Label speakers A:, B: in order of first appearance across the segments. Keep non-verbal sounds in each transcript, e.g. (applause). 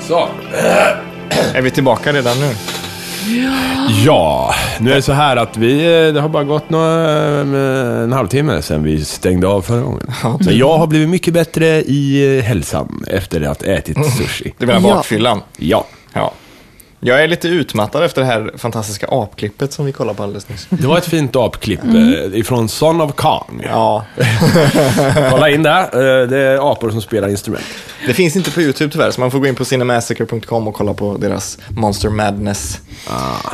A: Så.
B: Är vi tillbaka redan nu?
A: Ja, nu är det så här att vi, eh, det har bara gått några, eh, en halvtimme sedan vi stängde av förra gången. Men jag har blivit mycket bättre i eh, hälsan efter att ha
B: Mm.
A: ätit sushi.
B: Du menar
C: Ja.
B: bakfyllan?
A: Ja,
B: Ja. Jag är lite utmattad efter det här fantastiska apklippet som vi kollade på alldeles nyss.
A: det var ett fint apklipp
B: Mm.
A: eh, ifrån Son of Khan.
B: Ja.
A: Kolla in där, eh, det är apor som spelar instrument.
B: Det finns inte på YouTube tyvärr, så man får gå in på cinemassacre.com och kolla på deras Monster Madness.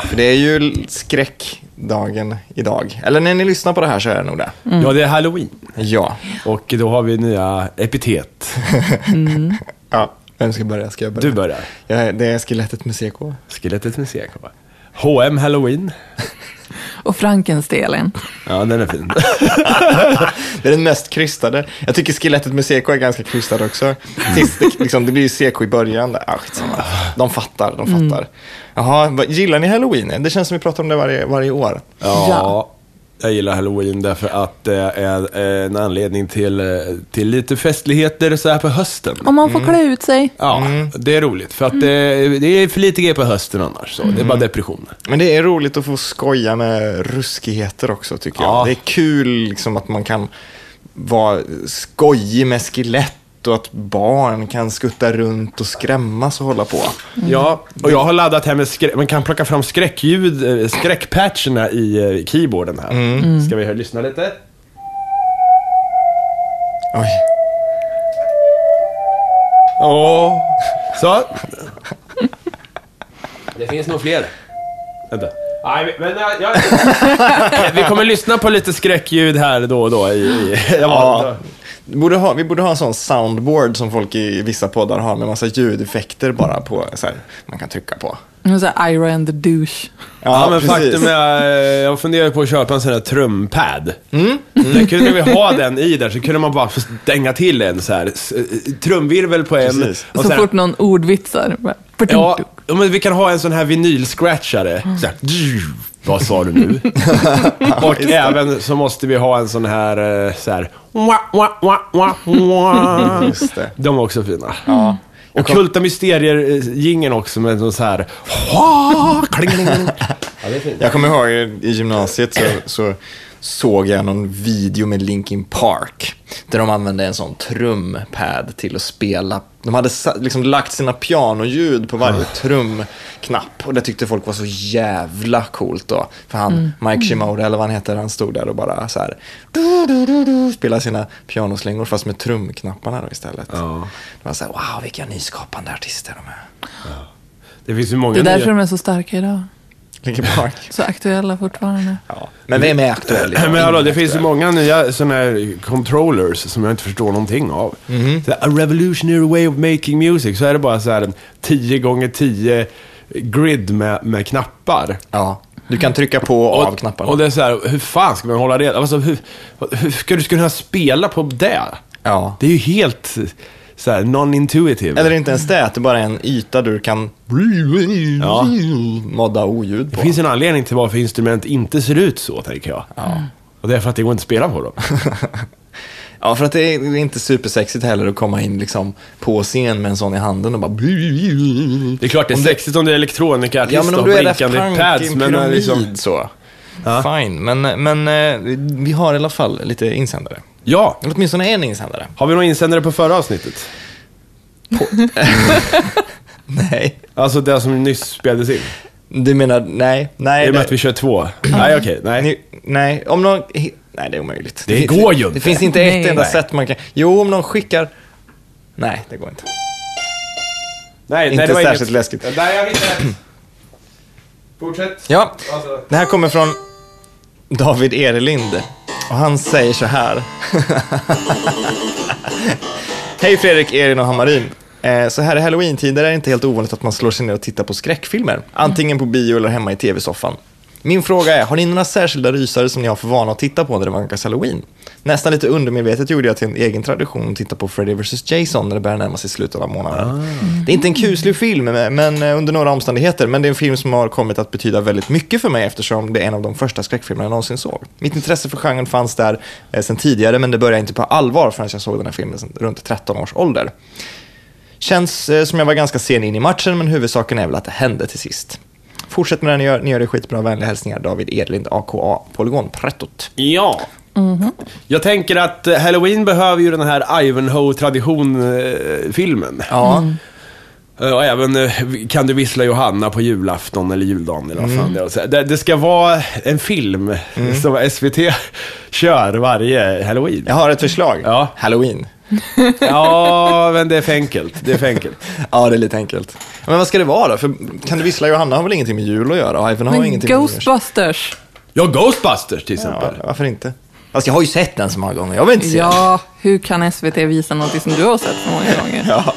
B: För det är ju l- skräckdagen idag. Eller när ni lyssnar på det här så är det nog det.
A: Ja, det är halloween.
B: Ja.
A: Och då har vi nya epitet.
B: (laughs) ja. Vem ska börja? Ska jag börja?
A: Du börjar.
B: Jag är, det är skelettet med CK.
A: Skelettet med CK. H&M Halloween.
C: Och Frankenstelen.
A: Ja, den är fin.
B: Det är den mest krystade. Jag tycker skelettet med CK är ganska krystad också. Sist, det, liksom, det blir ju CK i början. Där. Ah, skitsamma. de fattar, de fattar. Jaha, vad- gillar ni halloween? Det känns som vi pratar om det varje, varje år.
A: Ja,
C: Ja.
A: jag gillar halloween därför att det är en anledning till, eh, till lite festligheter så här på hösten.
C: Om man får
B: Mm.
C: klä ut sig.
A: Ja, det är roligt. För att eh, det, det är för lite grejer på hösten annars. Så. Det är bara depressioner.
B: Men det är roligt att få skoja med ruskigheter också tycker jag.
A: Ja.
B: Det är kul liksom, att man kan vara skojig med skelett och att barn kan skutta runt och skrämmas och hålla på.
A: Ja, och jag har laddat här med skrä- Man kan plocka fram skräckljud, eh, skräckpatcherna i eh, keyboarden här. Ska vi lyssna lite?
B: Oj.
A: Ja. Så. Det finns nog fler. Vänta. Nej, men jag, jag- (laughs) Vi kommer lyssna på lite skräckljud här då och då. I, i,
B: Ja. Vi borde, ha, vi borde ha en sån soundboard som folk i vissa poddar har med massa ljudeffekter bara på, så här, man kan trycka på.
C: Nu så här Ira and the douche.
A: Ja, men faktum är, eh, jag funderar på att köpa en sån här trumpad. Mm. kunde vi ha den i där så kunde man bara få stänga till en så här s- eh, trumvirvel på en.
B: Precis.
A: och
C: Så
A: sen-
C: fort någon ordvitsar. bara,
A: Ja, ja, men vi kan ha en sån här vinylscratchare. Så här, vad sa du (laughs) nu? och även så måste vi ha en sån här, eh, så här wah, wah, wah, wah, wah.
B: Just det.
A: De är också fina. Ja. Och Kulta Mysterier-gingen också med en så här... "Wah", kling, kling, kling. Ja, det är fint.
B: Jag kommer ihåg i gymnasiet så, så såg jag någon video med Linkin Park där de använde en sån trumpad till att spela. De hade sa- liksom lagt sina pianoljud på varje
A: Ah.
B: trumknapp och det tyckte folk var så jävla coolt då. För han, Mike Shimoda eller vad han heter, han stod där och bara så här du, du, du, du, spelade sina pianoslingor fast med trumknapparna då istället.
A: Ja.
B: Det var så här, wow vilka nyskapande artister de är.
A: Det finns ju många
C: Det är därför
A: nya.
C: de är så starka idag.
B: Linkin Park.
C: Så aktuella fortfarande.
B: Ja. Men vem är aktuell idag?
A: Men hallå,
B: Ingen
A: det finns ju
B: aktuell.
A: många nya såna här controllers som jag inte förstår någonting av. Så här, A revolutionary way of making music. Så är det bara så här en 10 gånger 10 grid med, med knappar.
B: Ja, du kan trycka på och, av knapparna.
A: och det är så här, hur fan ska man hålla reda alltså, hur, hur ska du kunna spela på det?
B: ja.
A: Det är ju helt så här non-intuitive.
B: Eller inte ens det, att det bara är en yta du kan
A: Ja.
B: modda oljud på.
A: Det finns en anledning till varför instrument inte ser ut så, tänker jag. Och det är för att det går inte att spela på dem.
B: (laughs) Ja, för att det är inte supersexigt heller att komma in liksom på scen med en sån i handen och bara...
A: Det är klart det är sexigt om du är elektronikartist
B: Ja, men om
A: och
B: du är Daft
A: blinkande
B: Punk i
A: pads,
B: en
A: men eh,
B: pyramid
A: liksom...
B: så. Fine, men, men eh, vi har i alla fall lite insändare.
A: Ja,
B: Eller Åtminstone en insändare.
A: har vi någon insändare på förra avsnittet?
B: Nej.
A: Alltså det som nyss spelades in?
B: Du menar, nej,
A: I
B: nej.
A: och med att vi kör två? Nej, okej, nej.
B: Ni, nej, om någon... he- Nej, det är omöjligt.
A: Det
B: finns-
A: går ju inte.
B: Det finns inte ett
C: Nej.
B: enda
A: Nej.
B: sätt man kan... Jo, om någon skickar... Nej, det går inte.
A: Nej,
B: Inte särskilt läskigt.
A: Nej, jag vet inte. Fortsätt.
B: Ja,
A: Alltså.
B: det här kommer från David Erelind. Och han säger så här. (laughs) Hej Fredrik, Erin och Hammarin. Eh, Så här i halloween-tider är det inte helt ovanligt att man slår sig ner och tittar på skräckfilmer. Antingen på bio eller hemma i tv-soffan. Min fråga är, har ni några särskilda rysare som ni har för vana att titta på när det vankas halloween? Nästan lite undermedvetet gjorde jag till en egen tradition att titta på Freddy vs. Jason när det börjar närma sig slutet av månaden. Mm. Det är inte en kuslig film, men eh, under några omständigheter, men det är en film som har kommit att betyda väldigt mycket för mig eftersom det är en av de första skräckfilmerna jag någonsin såg. Mitt intresse för genren fanns där eh, sedan tidigare, men det började inte på allvar förrän jag såg den här filmen sen- runt 13 års ålder. Känns eh, som jag var ganska sen in i matchen, men huvudsaken är väl att det hände till sist. Fortsätt med det ni gör, ni gör det skitbra. Vänliga hälsningar David Edlind, AKA Polygonprettot.
A: Ja. Jag tänker att eh, Halloween behöver ju den här Ivanhoe-tradition-filmen.
B: Ja,
A: Eh, Och även eh, Kan du vissla Johanna på julafton eller juldagen eller vad
B: Mm.
A: fan det är. Så det, det ska vara en film som SVT (laughs) kör varje halloween.
B: jag har ett förslag.
A: Ja.
B: Halloween.
A: Ja, men det är för enkelt. Det är för enkelt.
B: Ja, det är lite enkelt. Men vad ska det vara då? För kan du vissla Johanna har väl ingenting med jul att göra? Och Ivan har
C: Men
B: ingenting med jul.
C: Ghostbusters.
A: Ja, Ghostbusters till
B: Ja,
A: exempel.
B: varför inte? Fast jag har ju sett den så många gånger, jag vill inte se den.
C: Ja, hur kan SVT visa någonting som du har sett så många gånger?
B: Ja.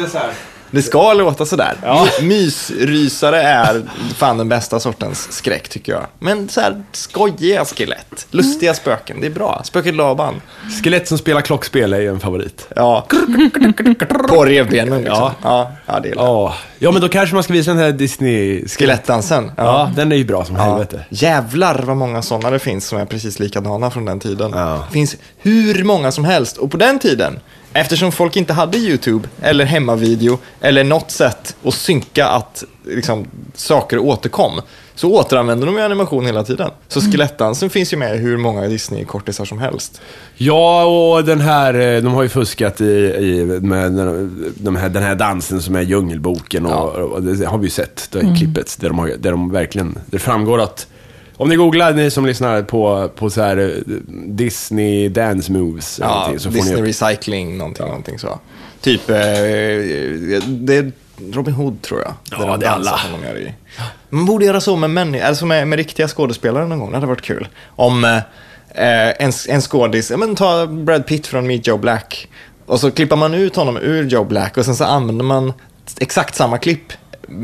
A: Det är så här.
B: Det ska låta sådär. Ja. Mysrysare är fan den bästa sortens skräck tycker jag. Men så här skojiga skelett,
C: Mm.
B: lustiga spöken, det är bra. Spöket Laban.
A: Skelett som spelar klockspel är ju en favorit.
B: Ja.
C: (laughs)
B: På revbenen liksom. Ja. Ja, det är bra.
A: Ja, ja men då kanske man ska visa den här Disney...
B: Skelettdansen.
A: Ja, den är ju bra som helvete.
B: Jävlar vad många sådana det finns som är precis likadana från den tiden.
A: Ja.
B: Det finns hur många som helst. Och på den tiden, eftersom folk inte hade YouTube eller hemmavideo eller något sätt att synka att liksom, saker återkom, så återanvände de ju animation hela tiden. Så
A: Mm.
B: skelettdansen finns ju med i hur många Disney-kortisar som helst.
A: Ja, och den här, eh, de har ju fuskat i, i, med den, de här, den här dansen som är Djungelboken. Och, och det har vi ju sett, det klippet, där de, har, där de verkligen, det framgår att om ni googlar, ni som lyssnar, på, på så här eh, Disney dance moves, eller någonting, så får
B: Disney
A: ni upp.
B: Recycling, någonting, någonting så. Typ, eh, det är Robin Hood tror jag.
A: Ja, det är alla.
B: Som de gör i. Man borde göra så med, männi- alltså med, med riktiga skådespelare någon gång, det hade varit kul. Om eh, en, en skådis, ja, men ta Brad Pitt från Meet Joe Black. Och så klipper man ut honom ur Joe Black och sen så använder man exakt samma klipp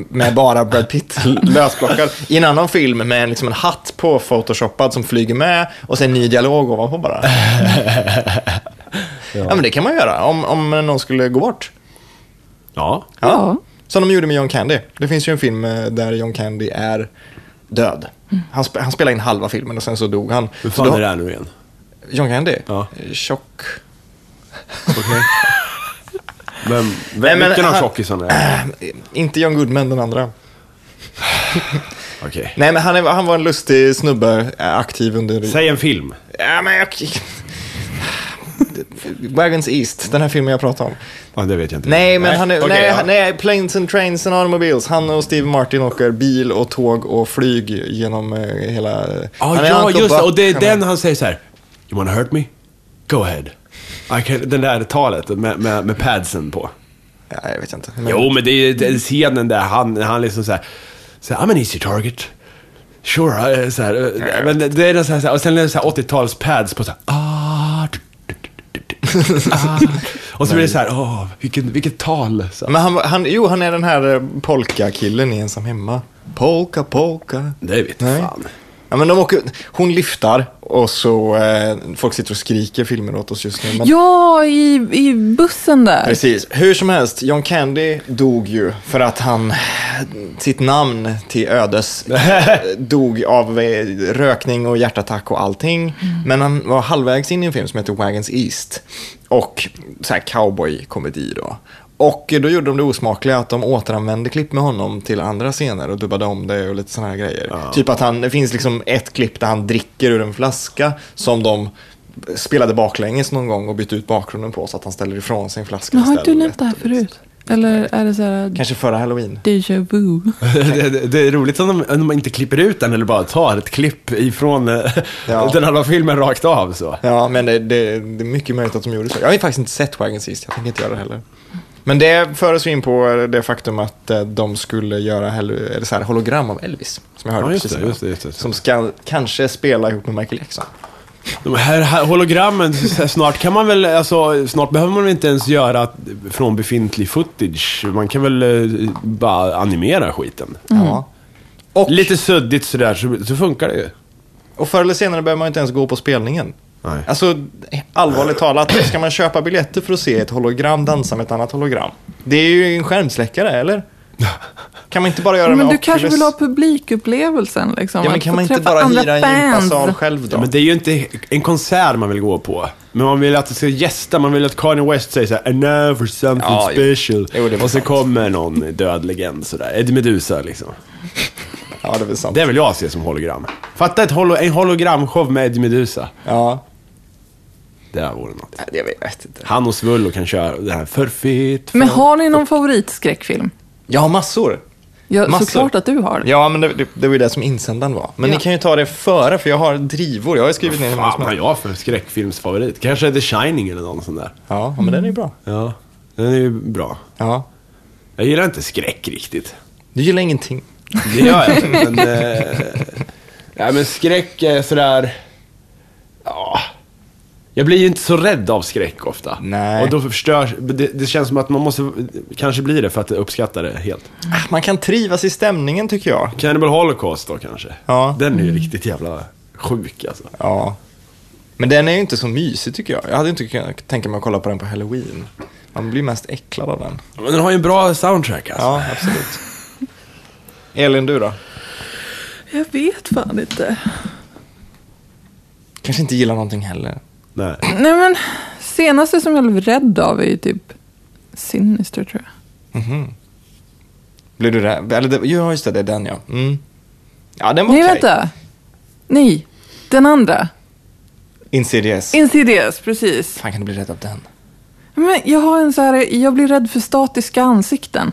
B: med bara Brad
A: (laughs)
B: Pitt lösplockad i en annan film med en, liksom en hatt på photoshoppad som flyger med och sen ny dialog
A: (laughs)
B: ovanpå bara. Ja, men det kan man göra om, om någon skulle gå bort.
A: Ja.
C: Ja.
B: Som de gjorde med John Candy. Det finns ju en film eh, där John Candy är död. Han, sp- han spelade in halva filmen och sen så dog han.
A: Hur
B: Så
A: fan
B: då-
A: är det här nu igen?
B: John Candy?
A: Ja.
B: Eh, Tjock.
A: Men, vem,
B: Nej, men
A: vilken av
B: han-
A: tjockisarna är det?
B: Eh, Inte John Goodman, den andra.
A: Okej.
B: Nej, men han, är, han var en lustig snubbe, eh, aktiv under...
A: Säg en film.
B: Ja, men jag... (laughs) Wagons East, den här filmen jag pratar om.
A: Ja, det vet jag inte.
B: Nej, men han är,
A: Okej,
B: nej,
A: ja.
B: han- nej, Planes and Trains and Automobiles. Han och Steve Martin åker bil och tåg och flyg genom eh, hela...
A: Ah, Ja,
B: han är
A: ja
B: Uncle
A: just det.
B: Buck,
A: Och det är
B: han
A: den han säger så här. You wanna hurt me? Go ahead. I can, den där talet med, med, med padsen på.
B: Ja, jag vet inte. Men,
A: Jo, men det är den scenen där han, han liksom så här, så här, I'm an easy target. Sure, eh, så här, eh, men det är den så här, så här, och sen är det så här 80-tals pads på så här, ah, du, du, du, du, du, ah. Och så blir det så här, åh, vilket, vilket tal. Så. här.
B: men han, han, jo, han är den här eh, polka-killen i Ensam Hemma. Polka, polka.
A: Det vet
B: Nej.
A: fan. (laughs)
B: Ja, men de åker, hon lyftar och så eh, folk sitter och skriker filmer åt oss just nu. Men,
C: Ja, i, i bussen där.
B: Precis. Hur som helst, John Candy dog ju för att han, sitt namn till ödes, eh, dog av eh, rökning och hjärtattack och allting. Men han var halvvägs in i en film som heter Wagons East och så här cowboy-komedi då. Och eh, då gjorde de det osmakliga att de återanvände klipp med honom till andra scener och dubbade om det och lite sådana här grejer. Typ att han, det finns liksom ett klipp där han dricker ur en flaska som de eh, spelade baklänges någon gång och bytte ut bakgrunden på så att han ställer ifrån sig en flaska
C: Men har inte du
B: istället.
C: nämnt det här förut? Eller är det så här
B: Kanske förra halloween.
C: deja vu?
A: Det, det, det är roligt om de, om de inte klipper ut den eller bara tar ett klipp ifrån eh,
B: Ja.
A: (laughs) den andra filmen rakt av. Så.
B: Ja, men det, det, det är mycket möjligt att de gjorde så. Jag har ju faktiskt inte sett Wagon sist, jag tänker inte göra det heller. Men det för oss in på det faktum att eh, de skulle göra hel- eller så här, hologram av Elvis, som jag hörde
A: Ja, just
B: precis
A: det,
B: innan.
A: just det, just det.
B: Som ska kanske spela ihop med Michael Jackson.
A: De här, här hologrammen, så här, snart kan man väl, alltså, snart behöver man väl inte ens göra från befintlig footage. Man kan väl eh, bara animera skiten.
C: Mm.
B: Ja. Och,
A: Lite suddigt sådär, så, så funkar det ju.
B: och förr eller senare behöver man inte ens gå på spelningen.
A: Nej.
B: Alltså, allvarligt talat, ska man köpa biljetter för att se ett hologram dansa med ett annat hologram? Det är ju en skärmsläckare, eller?
A: (laughs)
B: Kan man inte bara göra det
C: Men
B: med
C: du kanske
B: Oculus?
C: vill ha publikupplevelsen liksom?
B: Ja, men
C: att
B: kan
C: få
B: man inte
C: träffa
B: bara
C: andra
B: hyra en
C: fans?
B: gympasal själv då?
A: Ja, men det är ju inte en konsert man vill gå på. Men man vill att det ska gästa, man vill att Kanye West säger såhär And now for something
B: Ja, jo.
A: special.
B: Jo, det är
A: och så
B: sant.
A: kommer någon död legend sådär. Eddie Meduza liksom.
B: Ja, det är väl sant.
A: Det vill jag se som hologram. Fatta ett holo en hologramshow med Eddie Meduza.
B: Ja,
A: Det här vore något.
B: Nej, det vet jag inte.
A: Han och Svullo kan köra det här för fit.
C: Men har ni någon favoritskräckfilm?
B: Jag har massor.
C: Ja,
B: Massor.
C: såklart att du har.
B: Ja, men det, det, det var ju det som insändaren var. Men
C: Ja.
B: ni kan ju ta det före, för jag har drivor. Jag har ju skrivit ner hur många
A: Fan,
B: som
A: vad har
B: helst.
A: jag för skräckfilmsfavorit? Kanske The Shining eller någon sån där.
B: Ja, ja, men den är ju bra.
A: Ja, den är ju bra.
B: Ja.
A: Jag gillar inte skräck riktigt.
B: Du gillar ingenting.
A: Det gör jag inte, (laughs) men... Eh, ja, men skräck är sådär... Ja. Jag blir ju inte så rädd av skräck ofta.
B: Nej.
A: Och då förstörs... Det, det känns som att man måste kanske bli det för att uppskatta det helt.
B: Ah, Man kan trivas i stämningen, tycker jag.
A: Cannibal Holocaust då kanske.
B: Ja.
A: Den är ju riktigt jävla sjuk alltså.
B: Ja. Men den är ju inte så mysig, tycker jag. Jag hade inte kunnat tänka mig att kolla på den på halloween. Man blir mest äcklad av den.
A: Men den har ju en bra soundtrack alltså.
B: Ja, (laughs) absolut. Elin, du då?
C: Jag vet fan inte.
B: Kanske inte gillar någonting heller.
A: Nej.
C: Nej men, senaste som jag blev rädd av är ju typ Sinister tror jag.
B: Blir du rädd? Eller, det- ja, just det, det är den ja. Mm. Ja, den var
C: Nej
B: okej.
C: vänta! Nej, den andra.
B: Insidious.
C: Insidious, precis.
B: Fan, kan du bli rädd av den?
C: Men jag har en så här, jag blir rädd för statiska ansikten.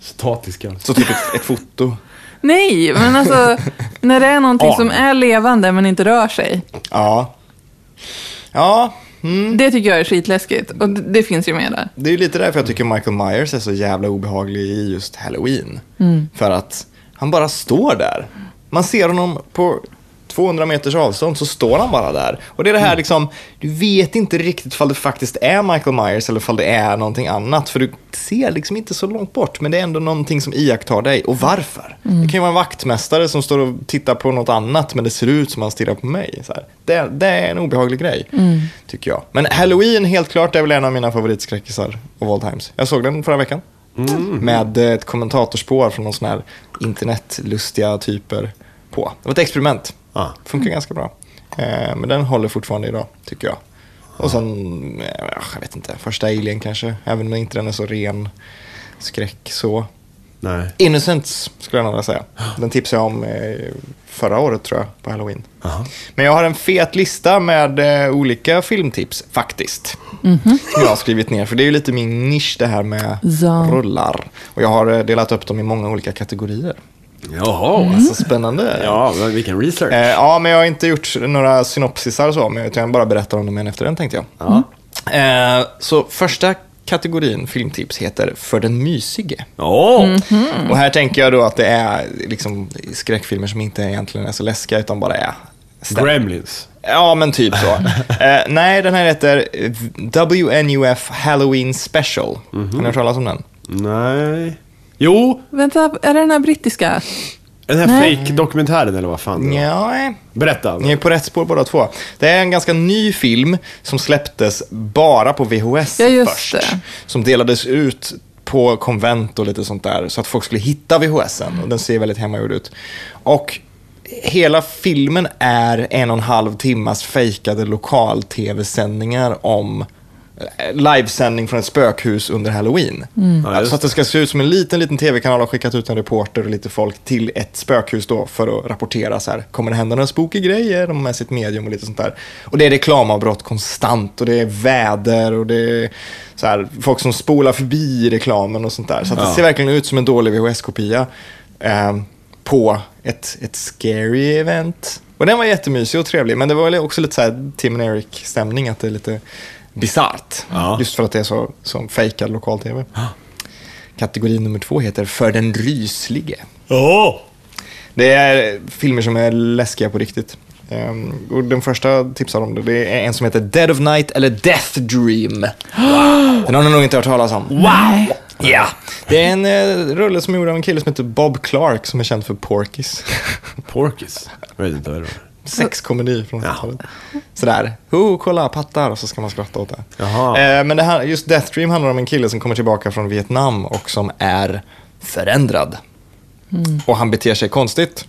A: Statisk alltså.
B: Så typ ett, ett foto.
C: Nej,
B: (laughs)
C: men alltså när det är någonting som
A: Arn.
C: är levande men inte rör sig.
B: Ja. Ja, Mm.
C: Det tycker jag är skitläskigt. Och det, det finns ju med där.
B: det är ju lite därför jag tycker Michael Myers är så jävla obehaglig i just Halloween.
C: Mm.
B: För att han bara står där. Man ser honom på 200 meters avstånd så står han bara där. Och det är det
C: Mm.
B: här liksom, du vet inte riktigt ifall det faktiskt är Michael Myers eller ifall det är någonting annat. För du ser liksom inte så långt bort, men det är ändå någonting som iakttar dig. Och varför? Det kan ju vara en vaktmästare som står och tittar på något annat, men det ser ut som han stirrar på mig. Så här. Det, det är en obehaglig grej, tycker jag. Men Halloween, helt klart, är väl en av mina favoritskräckisar of all times. Jag såg den förra veckan. Med eh, ett kommentatorspår från någon sån här internetlustiga typer på. Det var ett experiment.
A: Ah.
B: Funkar ganska bra. Eh, men den håller fortfarande idag, tycker jag. Och sen, eh, jag vet inte, första Alien kanske. Även om inte den är så ren skräck så.
A: Nej.
B: Innocence skulle jag nog vilja säga. Den tipsade jag om eh, förra året tror jag, på halloween.
A: Aha.
B: Men jag har en fet lista med eh, olika filmtips faktiskt. Som jag har skrivit ner, för det är ju lite min nisch det här med
C: Ja.
B: rullar. Och jag har eh, delat upp dem i många olika kategorier.
A: Jaha.
B: Så spännande.
A: Ja, men vilken research.
B: Eh, ja, men jag har inte gjort några synopsisar så, men utan jag bara berättar om dem en efter en tänkte jag. Eh, så första kategorin filmtips heter För den mysige.
A: Åh!
B: Och här tänker jag då att det är liksom skräckfilmer som inte egentligen är så läskiga utan bara är stä-
A: Gremlins.
B: Ja, men typ så. eh, nej, den här heter WNUF Halloween Special. Har ni hört talas om den?
A: Nej. Jo,
C: Vänta, är det den här brittiska?
A: den här
C: Nej.
A: fake-dokumentären eller vad fan det var.
B: Nej.
A: Berätta.
B: Ni är på rätt spår båda två. Det är en ganska ny film som släpptes bara på VHS
C: Ja, just
B: först.
C: det.
B: Som delades ut på konvent och lite sånt där, så att folk skulle hitta VHSen. Och den ser väldigt hemmagjord ut. Och hela filmen är en och en halv timmas fejkade lokal-tv-sändningar om eh, livesändning från ett spökhus under halloween.
A: Mm. Ja,
B: Alltså
A: just
B: att det ska se ut som en liten, liten tv-kanal har skickat ut en reporter och lite folk till ett spökhus då för att rapportera så här, kommer det hända några spooky grejer? De har med sitt medium och lite sånt där. Och det är reklamavbrott konstant och det är väder och det är så här, folk som spolar förbi reklamen och sånt där. Så att det
A: Ja.
B: ser verkligen ut som en dålig VHS-kopia eh, på ett, ett scary event. Och den var jättemysig och trevlig, men det var väl också lite så här Tim och Eric-stämning, att det är lite bisarrt.
A: Ja.
B: Just för att det är så som fejkad lokal-tv. Kategori nummer två heter För den ryslige.
A: Ja!
B: Det är filmer som är läskiga på riktigt. Ehm, och den första tipsar om det. Det är en som heter Dead of Night eller Death Dream. Den har ni nog inte hört talas om.
C: Nej.
B: Ja, det är en eh, rulle som är gjord av en kille som heter Bob Clark som är känd för Porkis.
A: Porkis. Jag vet inte vad det var.
B: Sexkomedi från 80-talet. Sådär, oh, kolla pattar och så ska man skratta åt det.
A: Jaha.
B: Eh, men det här, just Death Dream handlar om en kille som kommer tillbaka från Vietnam och som är förändrad. Och han beter sig konstigt.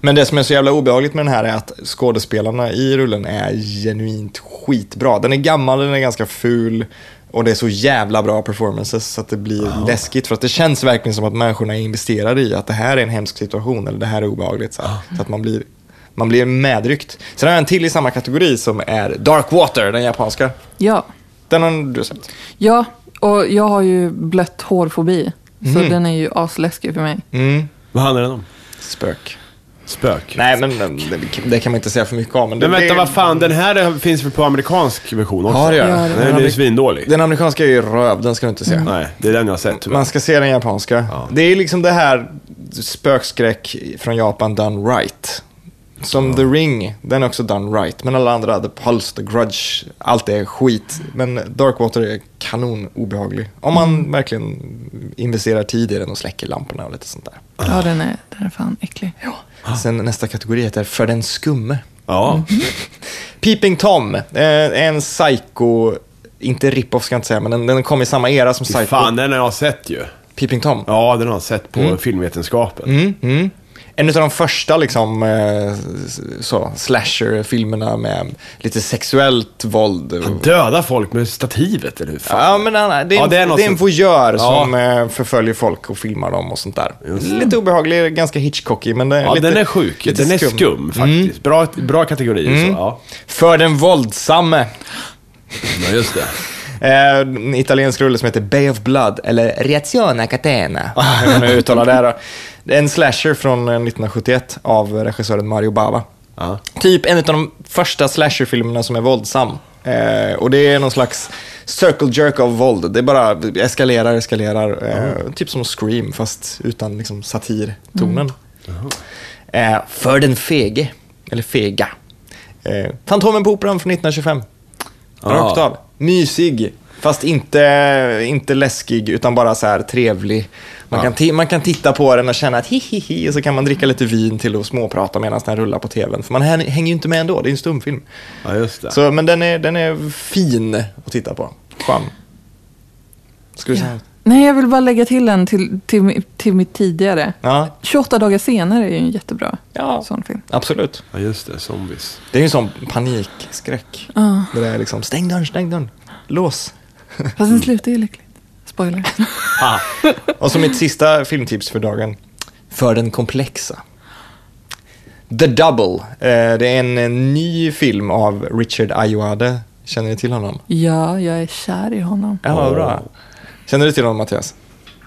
B: Men det som är så jävla obehagligt med den här är att skådespelarna i rullen är genuint skitbra. Den är gammal, den är ganska ful och det är så jävla bra performances så att det blir läskigt. För att det känns verkligen som att människorna är investerade i att det här är en hemsk situation eller det här är obehagligt. Så, här. så att man blir, man blir medryckt. Sen har jag en till i samma kategori som är Dark Water, den japanska.
C: Ja.
B: Den har du sett?
C: Ja, och jag har ju blött hårfobi. Så den är ju asläskig för mig.
B: Mm.
A: Vad handlar den om?
B: Spök.
A: Spök.
B: Nej, men men det, det kan man inte säga för mycket om. Men, det,
A: Men
B: det,
A: vänta, vad fan, den här finns väl på amerikansk version också?
B: Ja, det gör
C: Ja,
B: jag.
C: det
A: Den är ju svindålig.
B: Den amerikanska är ju röv, den ska du inte se.
A: Nej, det är den jag har sett tyvärr.
B: Mm. Man ska se den japanska.
A: Ja.
B: Det är liksom det här spökskräck från Japan done right. Som The Ring, den är också done right. Men alla andra, The Pulse, The Grudge, allt är skit. Men Darkwater är kanon obehaglig. Om man verkligen investerar tid i den och släcker lamporna och lite sånt där.
C: Ja, den är, den är fan äcklig.
B: Sen nästa kategori heter För den skumme.
A: Ja.
B: Mm. Peeping Tom, eh, en psycho, inte rip-off ska jag inte säga, men den, den kom i samma era som
A: Fy
B: Psycho.
A: Fan, den har jag sett ju.
B: Peeping Tom.
A: Ja, den har jag sett på filmvetenskapen.
B: Mm, mm. En av de första liksom, eh, s- så, slasher-filmerna med lite sexuellt våld.
A: Döda folk med stativet, eller hur fan?
B: Ja, men Anna, det är,
A: Ja,
B: en-
A: det
B: det
A: är
B: är,
A: något
B: en
A: som-
B: voyeur
A: Ja.
B: som eh, förföljer folk och filmar dem och sånt där.
A: Just det.
B: Lite obehaglig, ganska hitchcockig, men det är
A: Ja,
B: lite,
A: den är sjuk.
B: lite Mm.
A: Den är skum, faktiskt. Bra, bra kategori. Så, ja.
B: För den våldsamme.
A: ja, just det.
B: Eh, en italiensk rulle som heter Bay of Blood, eller Reazione (laughs) Catena, hur man nu uttalar det här. då. Det är en slasher från eh, 1971 av regissören Mario Bava.
A: Ja.
B: Typ en av de första slasherfilmerna som är våldsam. Eh, och det är någon slags circle jerk av våld. Det bara eskalerar, eskalerar. Eh, Typ som Scream, fast utan liksom, satirtonen. Eh, för den fege, eller fega. Eh, Fantomen på Operan från 1925. Rakt
A: Ah.
B: av. Mysig, fast inte, inte läskig, utan bara så här trevlig. Man, kan ti- man kan titta på den och känna att hihihi, och så kan man dricka lite vin till och småprata medan den rullar på tvn. För man hän- hänger ju inte med ändå, det är ju en stumfilm.
A: Ja, just det.
B: Så, men den är, den är fin att titta på. Skön. Ska du säga?
C: Nej, jag vill bara lägga till en till, till, mi- till mitt tidigare.
B: Ja.
C: 28 dagar senare är ju en jättebra
B: Ja.
C: sån film.
B: Absolut.
A: Ja, just det. Zombies.
B: Det är ju en sån panikskräck.
C: Ja.
B: Det där är liksom, stäng dörren, stäng dörren, lås.
C: Fast den slutar ju lyckligt.
B: (laughs)
C: Spoiler.
B: Och så mitt sista filmtips för dagen. För den komplexa. The Double. Eh, Det är en eh, ny film av Richard Ayoade. Känner ni till honom?
C: Ja, jag är kär i honom.
B: Ja, vad bra. Känner du till honom, Mattias?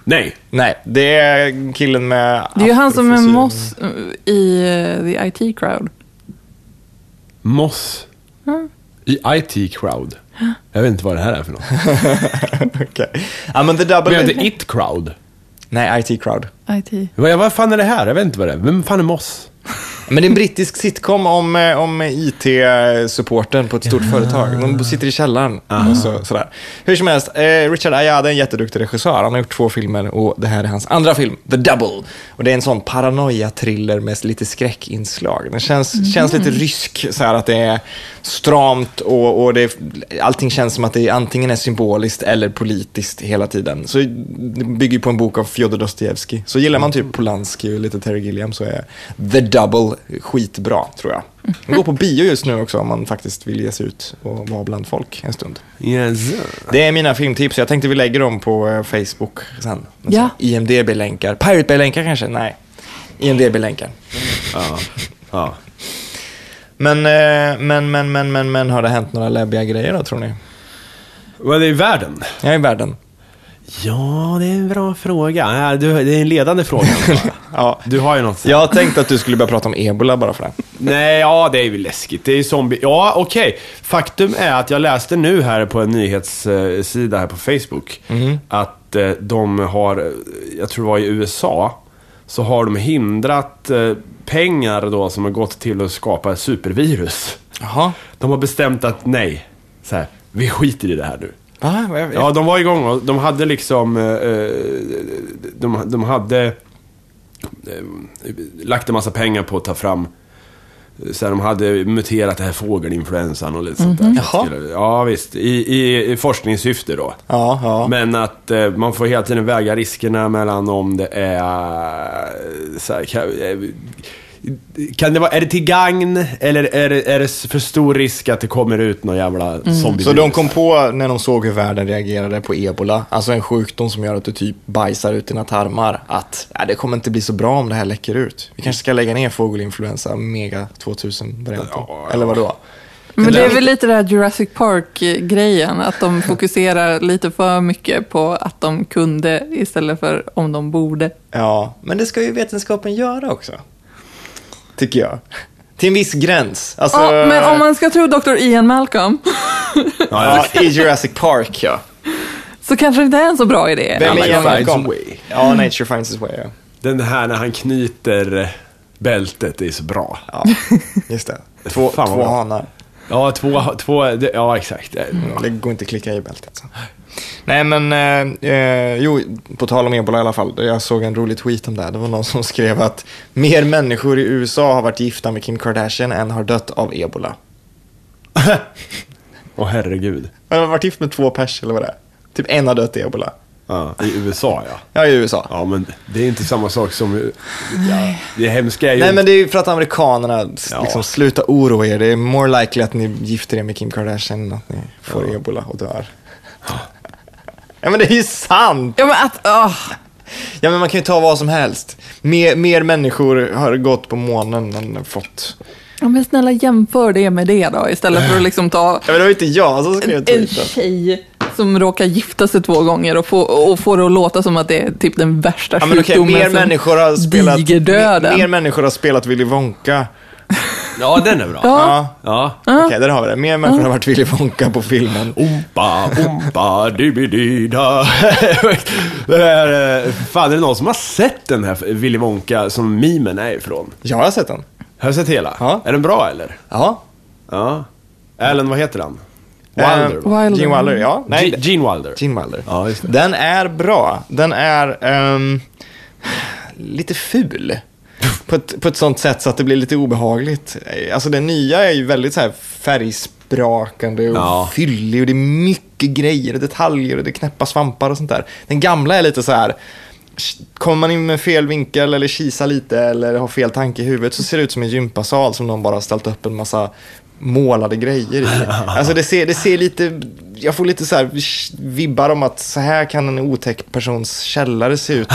A: Nej!
B: Nej, det är killen med...
C: Det är ju han som är
B: afrofrisyren.
C: Moss eh, i eh, The IT Crowd.
A: Moss.
C: Mm.
A: I IT crowd. Jag vet inte vad det här är för något.
B: (laughs) Okej. Ja, men The
A: Men
B: Double...
A: jag heter It crowd.
B: Nej, IT Crowd.
C: IT.
A: Vad, vad fan är det här? Jag vet inte vad det är. Vem fan är Moss?
B: Men det är en brittisk sitcom om, eh, om IT-supporten på ett stort företag. De sitter i källaren. Och så, sådär. Hur som helst, eh, Richard Ayade är en jätteduktig regissör. Han har gjort två filmer och det här är hans andra film, The Double. Och det är en sån paranoia-thriller med lite skräckinslag. Den känns, känns lite rysk, så här att det är stramt och, och det är, allting känns som att det antingen är symboliskt eller politiskt hela tiden. Så det bygger ju på en bok av Fjodor Dostojevskij. Så gillar man typ Polanski och lite Terry Gilliam så är The Double skitbra, tror jag. Den går på bio just nu också om man faktiskt vill ge sig ut och vara bland folk en stund.
A: Yes.
B: Det är mina filmtips. Jag tänkte vi lägger dem på eh, Facebook sen.
C: Ja.
B: IMDB-länkar. Pirate Bay-länkar kanske? Nej. IMDB-länkar.
A: Ja. Ja.
B: Men, eh, men, men, men, men, men, har det hänt några läbbiga grejer då, tror ni?
A: Vad är världen?
B: Jag är i världen.
A: Ja, det är en bra fråga. Ja, du, det är en ledande fråga. va?
B: Ja.
A: (laughs) Du har ju något.
B: Jag tänkte att du skulle börja prata om ebola bara för det.
A: Nej, ja det är ju läskigt. Det är ju zombie... Ja, okej. Faktum är att jag läste nu här på en nyhetssida här på Facebook att eh, de har, jag tror det var i USA, så har de hindrat eh, pengar då som har gått till att skapa ett supervirus.
B: Jaha.
A: De har bestämt att nej, så här, vi skiter i det här nu.
B: Va? Vad jag vet.
A: Ja, de var igång och de hade liksom... eh, eh, De, de hade eh, lagt en massa pengar på att ta fram... eh, Så här, de hade muterat det här fågelinfluensan och lite sånt där.
B: Mhm. Jaha.
A: Skulle- Ja, visst. I, i, i forskningssyfte då.
B: Ja, ja.
A: Men att eh, man får hela tiden väga riskerna mellan om det är... eh, Så här, kan, eh, kan det vara, är det till gagn eller är det, är det för stor risk att det kommer ut någon jävla zombie
B: Mm. Så de kom på när de såg hur världen reagerade på ebola, alltså en sjukdom som gör att du typ bajsar ut dina tarmar, att ja, det kommer inte bli så bra om det här läcker ut. Vi kanske ska lägga ner fågelinfluensa mega 2000-varianten.
A: Ja,
B: Eller vadå?
C: Men det är väl lite det här Jurassic Park-grejen, att de fokuserar lite för mycket på att de kunde istället för om de borde.
B: Ja, men det ska ju vetenskapen göra också. Tycker jag. Till en viss gräns. Alltså,
C: Ja, men om man ska tro Dr. Ian Malcolm
B: ja, I Jurassic Park, ja.
C: så kanske det inte är en så bra idé.
B: Vem
A: Alla
B: är Ian
A: finds
B: Malcolm?
A: a way.
B: Ja, Nature finds its way, ja.
A: Den här när han knyter bältet, det är så bra.
B: (laughs) ja just det. Två,
A: Fan, vad
B: två
A: bra.
B: hanar.
A: Ja, två, två det, ja exakt. Det är bra.
B: Det går inte att klicka i bältet. alltså. Så. Nej men, eh, eh, jo, på tal om ebola i alla fall. Jag såg en rolig tweet om det här. Det var någon som skrev att mer människor i USA har varit gifta med Kim Kardashian än har dött av ebola. (laughs)
A: Åh herregud.
B: Jag har varit gift med två pers eller vad det är. Typ en har dött i ebola.
A: Ja, I USA ja.
B: Ja, i USA.
A: Ja, men det är inte samma sak som... Ja, det hemska är ju...
B: Nej men det är ju för att amerikanerna, s-
A: Ja.
B: liksom, sluta oroa er. Det är more likely att ni gifter er med Kim Kardashian än att ni får ebola och dör. (laughs) Ja men det är ju sant!
C: Ja, men att, åh,
B: Ja, men man kan ju ta vad som helst. Mer, mer människor har gått på månen än fått.
C: ja, men snälla jämför det med det då, istället för att liksom ta
B: Ja, men det var ju inte jag som skrev
C: en, en
B: tweeten.
C: tjej som råkar gifta sig två gånger och får, och får det att låta som att det är typ den värsta
B: Ja, men okej,
C: sjukdomen
B: mer
C: som
B: människor har spelat...
C: digerdöden.
B: Mer människor har spelat Willy Wonka.
A: Ja, den är bra.
B: Ja.
A: Ja.
B: Okej, där har vi det. Mer människor har varit Willy Wonka på filmen.
A: Oh. Ompa, ompa, dibidida. (laughs) Det där, eh, fan, är det någon som har sett den här Willy Wonka som mimen är ifrån?
B: Jag har sett den.
A: Har du sett hela?
B: Ja.
A: Är den bra eller?
B: Ja.
A: Ja. Alan, vad heter han?
B: Eh,
A: Wilder, va?
C: Wilder.
B: Gene Wilder, ja. Nej,
A: Ge- Gene Wilder.
B: Gene Wilder.
A: Ja, just det.
B: Den är bra. Den är ehm, lite ful. På ett, på ett sånt sätt så att det blir lite obehagligt. Alltså det nya är ju väldigt så här färgsprakande och
A: Ja.
B: fyllig och det är mycket grejer och detaljer och det är knäppa svampar och sånt där. Den gamla är lite så här, sh- kommer man in med fel vinkel eller kisar lite eller har fel tanke i huvudet så ser det ut som en gympasal som någon bara har ställt upp en massa målade grejer i. Alltså det ser, det ser lite, jag får lite så här sh- vibbar om att så här kan en otäck persons källare se ut.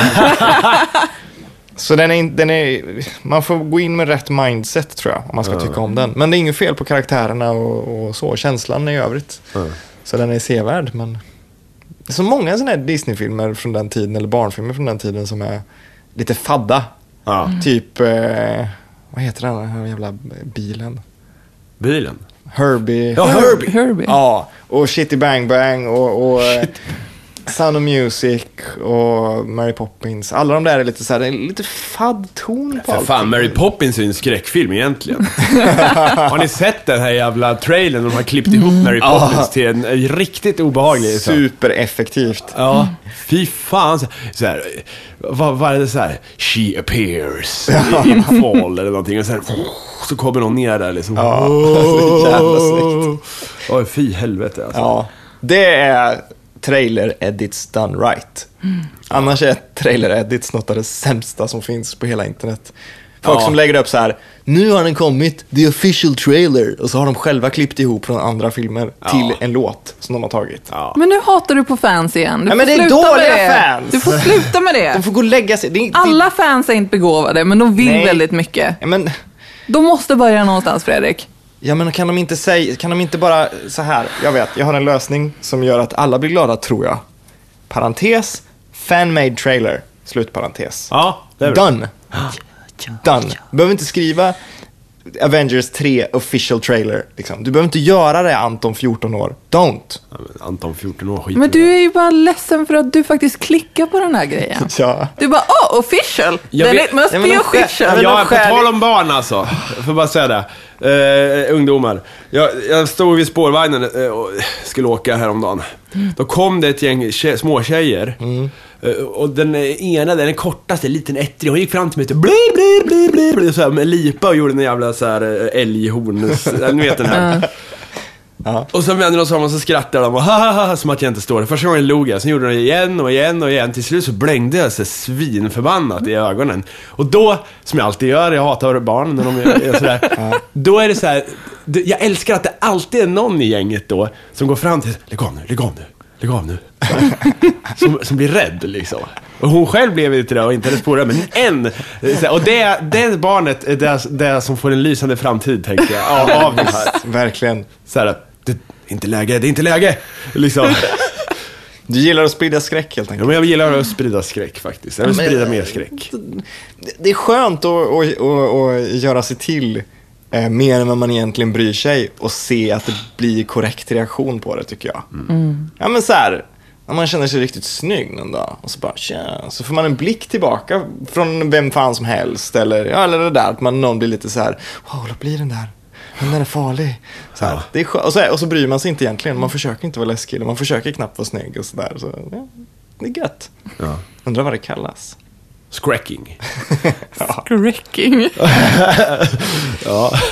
B: Så den är, in- den är, man får gå in med rätt mindset tror jag, om man ska tycka om den. Men det är inget fel på karaktärerna och, och så, känslan i övrigt. Så den är sevärd, men... Det är så många sådana här Disney-filmer från den tiden, eller barnfilmer från den tiden, som är lite fadda.
A: Ja.
B: Typ, eh, vad heter den här jävla bilen?
A: Bilen?
B: Herbie.
A: Ja, Herbie.
C: Herbie.
B: Ja, och Shitty Bang Bang och, och eh, Sound of Music och Mary Poppins. Alla de där är lite så här, det är lite fadd ton på
A: För
B: allt.
A: fan, Mary Poppins är ju en skräckfilm (laughs) egentligen. har ni sett den här jävla trailern? De har klippt ihop Mary Poppins till en en riktigt obehaglig. Så.
B: Supereffektivt.
A: Ja, fy fan. Så- Så här, vad, vad är det så här? She appears i- (laughs) in fall eller någonting. Och så, här, så kommer någon ner där liksom. Ja, (laughs)
B: så jävla
A: Oj, fy helvete alltså.
B: Ja, det är trailer-edits done
A: Mm.
B: right. Annars är trailer-edits något av det sämsta som finns på hela internet. Folk
A: Ja.
B: som lägger upp så här, nu har den kommit, the official trailer. Och så har de själva klippt ihop från andra filmer till en låt som de har tagit.
C: Men nu hatar du på fans igen. Du
B: Ja,
C: får
B: men det är
C: sluta med
B: dåliga
C: det.
B: fans.
C: Du får sluta med
B: De
C: det.
B: får gå och lägga sig. Det är,
C: Alla fans är inte begåvade, men de vill
B: Nej.
C: väldigt mycket.
B: Ja, men,
C: De måste börja någonstans, Fredrik.
B: ja, men kan de inte säga, kan de inte bara så här, jag vet, jag har en lösning som gör att alla blir glada tror jag. Parentes, fan-made trailer, slutparentes.
A: Ja, det är bra.
B: Done. Done. Du behöver inte skriva Avengers 3 official trailer. Liksom. Du behöver inte göra det Anton 14 år. Don't.
A: Ja, men Anton 14 år skiter
C: Men
A: i det.
C: du är ju bara ledsen för att du faktiskt klickar på den här grejen.
B: Ja.
C: Du bara, åh, oh, official!
A: Jag
C: Then
A: vet-
C: it must
B: Ja, men
C: be
B: de skä- Ja,
C: official.
B: men-
A: Ja,
B: de
A: på
B: skär-
A: tal om barn alltså. Jag Får bara säga det. Eh, ungdomar. Jag, jag stod vid spårvagnen eh, och skulle åka häromdagen. Då kom det ett gäng tje- småtjejer. Eh, och den ena, den kortaste, liten ettrig, hon gick fram till mig och typ bli, bli, bli, bli, bli, så här, med lipa och gjorde en jävla så här eh, älghorn. s- Ni vet den här.
B: Ja.
A: Och sen vänder de sig om och så skrattar de och hahaha som att jag inte står där. Första gången log jag, sen gjorde de det igen och igen och igen. Till slut så blängde jag sig svinförbannat i ögonen. Och då, som jag alltid gör, jag hatar barn när de är är sådär. Då är det så här, det- jag älskar att det alltid är någon i gänget då som går fram till, lägg av nu, lägg av nu, lägg av nu. (laughs) Som, som blir rädd liksom. Och hon själv blev inte det och inte hennes polare, men en. eh, så här, Och det, det barnet är det, det som får en lysande framtid, tänker jag, av, av det här
B: Verkligen.
A: så här, det är inte läge, det är inte läge.
B: (laughs)
A: Liksom.
B: Du gillar att sprida skräck helt
A: Ja,
B: enkelt.
A: men jag gillar att sprida skräck faktiskt. Jag vill
B: men-
A: sprida mer skräck.
B: Det är skönt att, att, att, att göra sig till eh, mer än vad man egentligen bryr sig och se att det blir korrekt reaktion på det tycker jag. Ja men så här, om man känner sig riktigt snygg någon dag och så bara tja, så får man en blick tillbaka från vem fan som helst eller, ja, eller det där att man, någon blir lite så här, wow, vad blir den där? Den där är farlig. Så här, det är skö- och, så här, och så bryr man sig inte egentligen, man försöker inte vara läskig eller man försöker knappt vara snygg och sådär. Så, ja, det är gött.
A: Ja.
B: Undrar vad det kallas.
A: Skräcking.
C: Skräcking.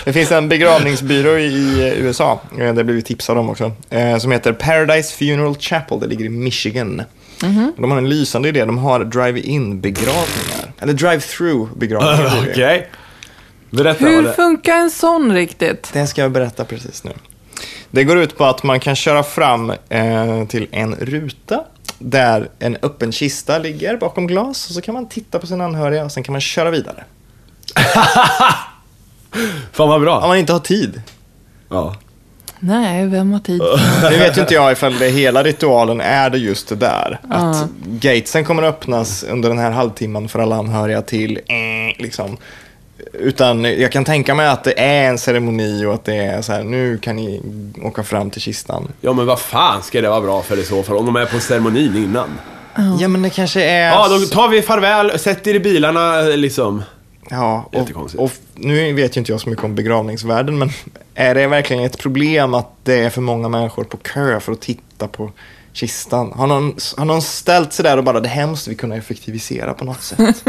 B: Det finns en begravningsbyrå i eh, USA, eh, det blev vi tipsade om också, eh, som heter Paradise Funeral Chapel. Det ligger i Michigan. De har en lysande idé. De har drive-in begravningar. Eller drive-through
A: (laughs)
B: begravningar.
A: (laughs) Okej. Berätta vad
C: Hur
A: det
C: funkar en sån riktigt?
B: Det ska jag berätta precis nu. Det går ut på att man kan köra fram eh, till en ruta där en öppen kista ligger bakom glas. Och så kan man titta på sina anhöriga och sen kan man köra vidare.
A: Fan vad
B: Om
A: bra.
B: man inte har tid.
A: Ja.
C: Nej, vem har tid?
B: Nu vet ju inte jag ifall det hela ritualen är det just det där. Att gatesen kommer att öppnas under den här halvtimman för alla anhöriga till eh, liksom. Utan jag kan tänka mig att det är en ceremoni och att det är så här, nu kan ni åka fram till kistan.
A: ja, men vad fan ska det vara bra för i så fall? Om de är på ceremonin innan.
B: Ja, men det kanske är...
A: Ja, då tar vi farväl, sätt er i bilarna liksom.
B: Ja, och,
A: Jättekonstigt.
B: och nu vet ju inte jag så mycket om begravningsvärlden, men är det verkligen ett problem att det är för många människor på kö för att titta på kistan? Har någon, har någon ställt sig där och bara, det här måste vi kunna effektivisera på något
C: (laughs)
B: sätt?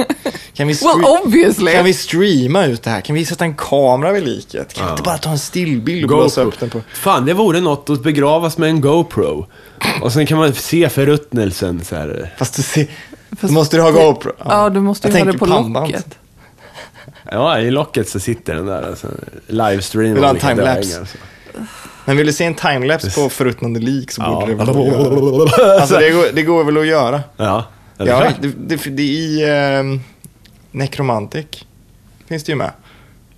B: Kan vi,
C: Well,
B: stre-
C: obviously.
B: kan vi streama ut det här? Kan vi sätta en kamera vid liket? Kan vi inte bara ta en stillbild och blåsa upp den på...
A: Fan, det vore något att begravas med en GoPro. Och sen kan man se förruttnelsen så här.
B: Fast du ser, då
C: Fast
B: måste du ha
C: det-
B: GoPro.
C: Ja, du måste
B: Jag
C: ju ha det
B: tänker
C: på
B: pannband.
C: locket.
A: Ja, i locket så sitter den där. Alltså, livestream.
B: Vill ha en
A: olika
B: timelapse?
A: döingar, så.
B: Men vill du se en timelapse på förruttnande lik så borde det väl gå att göra.
A: Ja.
C: (laughs)
B: Alltså det går, det går väl att göra.
A: Ja, är det
B: Ja,
A: klart?
B: det, det, det är i eh, Necromantic. Finns det ju med.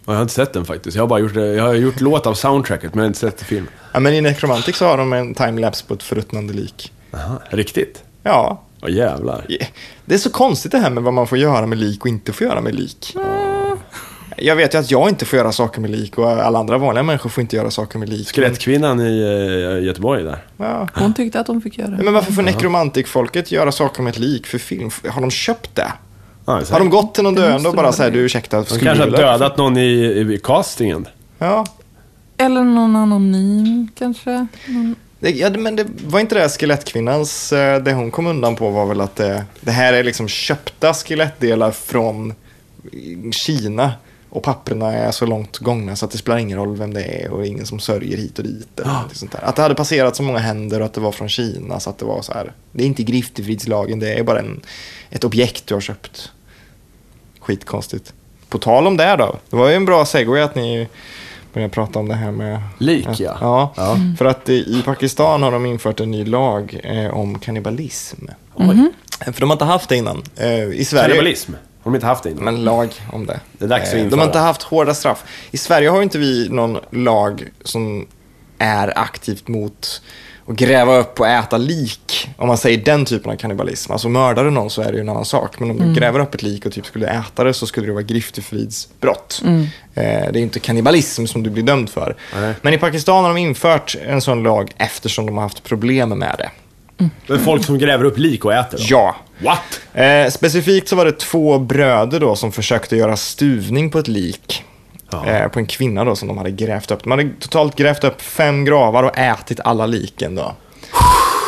A: Jag har inte sett den faktiskt. Jag har bara gjort, jag har gjort låt av soundtracket, men jag har inte sett filmen.
B: Ja, men i Necromantic så har de en timelapse på ett förruttnande lik.
A: Aha. Riktigt?
B: Ja,
A: Åh jävlar.
B: yeah. det är så konstigt det här med vad man får göra med lik och inte får göra med lik.
A: Mm.
B: Jag vet ju att jag inte får göra saker med lik och alla andra vanliga människor får inte göra saker med lik. men-
A: Skelettkvinnan i eh, Göteborg där.
B: Ja.
C: Hon tyckte att hon fick göra
B: Nej,
C: det.
B: Men varför får nekromantikfolket göra saker med ett lik för film? Har de köpt det?
A: Ja, det är
B: Har de gått till någon
C: Det
B: döende
C: måste
B: och bara
C: vara
B: säger
C: det.
B: du ursäkta, skulle
A: de kanske har
B: vilja-
A: dödat någon i, i castingen.
B: Ja,
C: Eller någon anonym kanske? Någon...
B: Det, ja, det- men det var inte det här skelettkvinnans, eh, det hon kom undan på var väl att det, det här är liksom köpta skelettdelar från Kina och papperna är så långt gångna så att det spelar ingen roll vem det är och det är ingen som sörjer hit och dit. Eller någonting sånt där. Att det hade passerat så många händer och att det var från Kina så att det var så här, det är inte griftefridslagen, det är bara en, ett objekt du har köpt. Skitkonstigt. på tal om det då. Det var ju en bra segway att ni började prata om det här med...
A: Lik,
B: att,
A: ja.
B: ja.
A: Ja.
B: För att eh, i Pakistan har de infört en ny lag eh, om kannibalism. För de har inte haft det innan. Eh, I Sverige...
A: Kannibalism. Har de inte haft det innan?
B: Men lag om det.
A: Det är dags att
B: Eh, De
A: införa.
B: har inte haft hårda straff. I Sverige har ju inte vi någon lag som är aktivt mot att gräva upp och äta lik. Om man säger den typen av kannibalism. Alltså mördar du någon så är det ju en annan sak. Men om du gräver upp ett lik och typ skulle äta det så skulle det vara griftefridsbrott. Eh, Det är inte kannibalism som du blir dömd för.
A: Nej.
B: Men i Pakistan har de infört en sån lag eftersom de har haft problem med det.
A: Men folk som gräver upp lik och äter dem?
B: Ja.
A: What?
B: Eh, specifikt så var det två bröder då som försökte göra stuvning på ett lik.
A: Ja.
B: Eh, på en kvinna då som de hade grävt upp. De hade totalt grävt upp fem gravar och ätit alla liken då.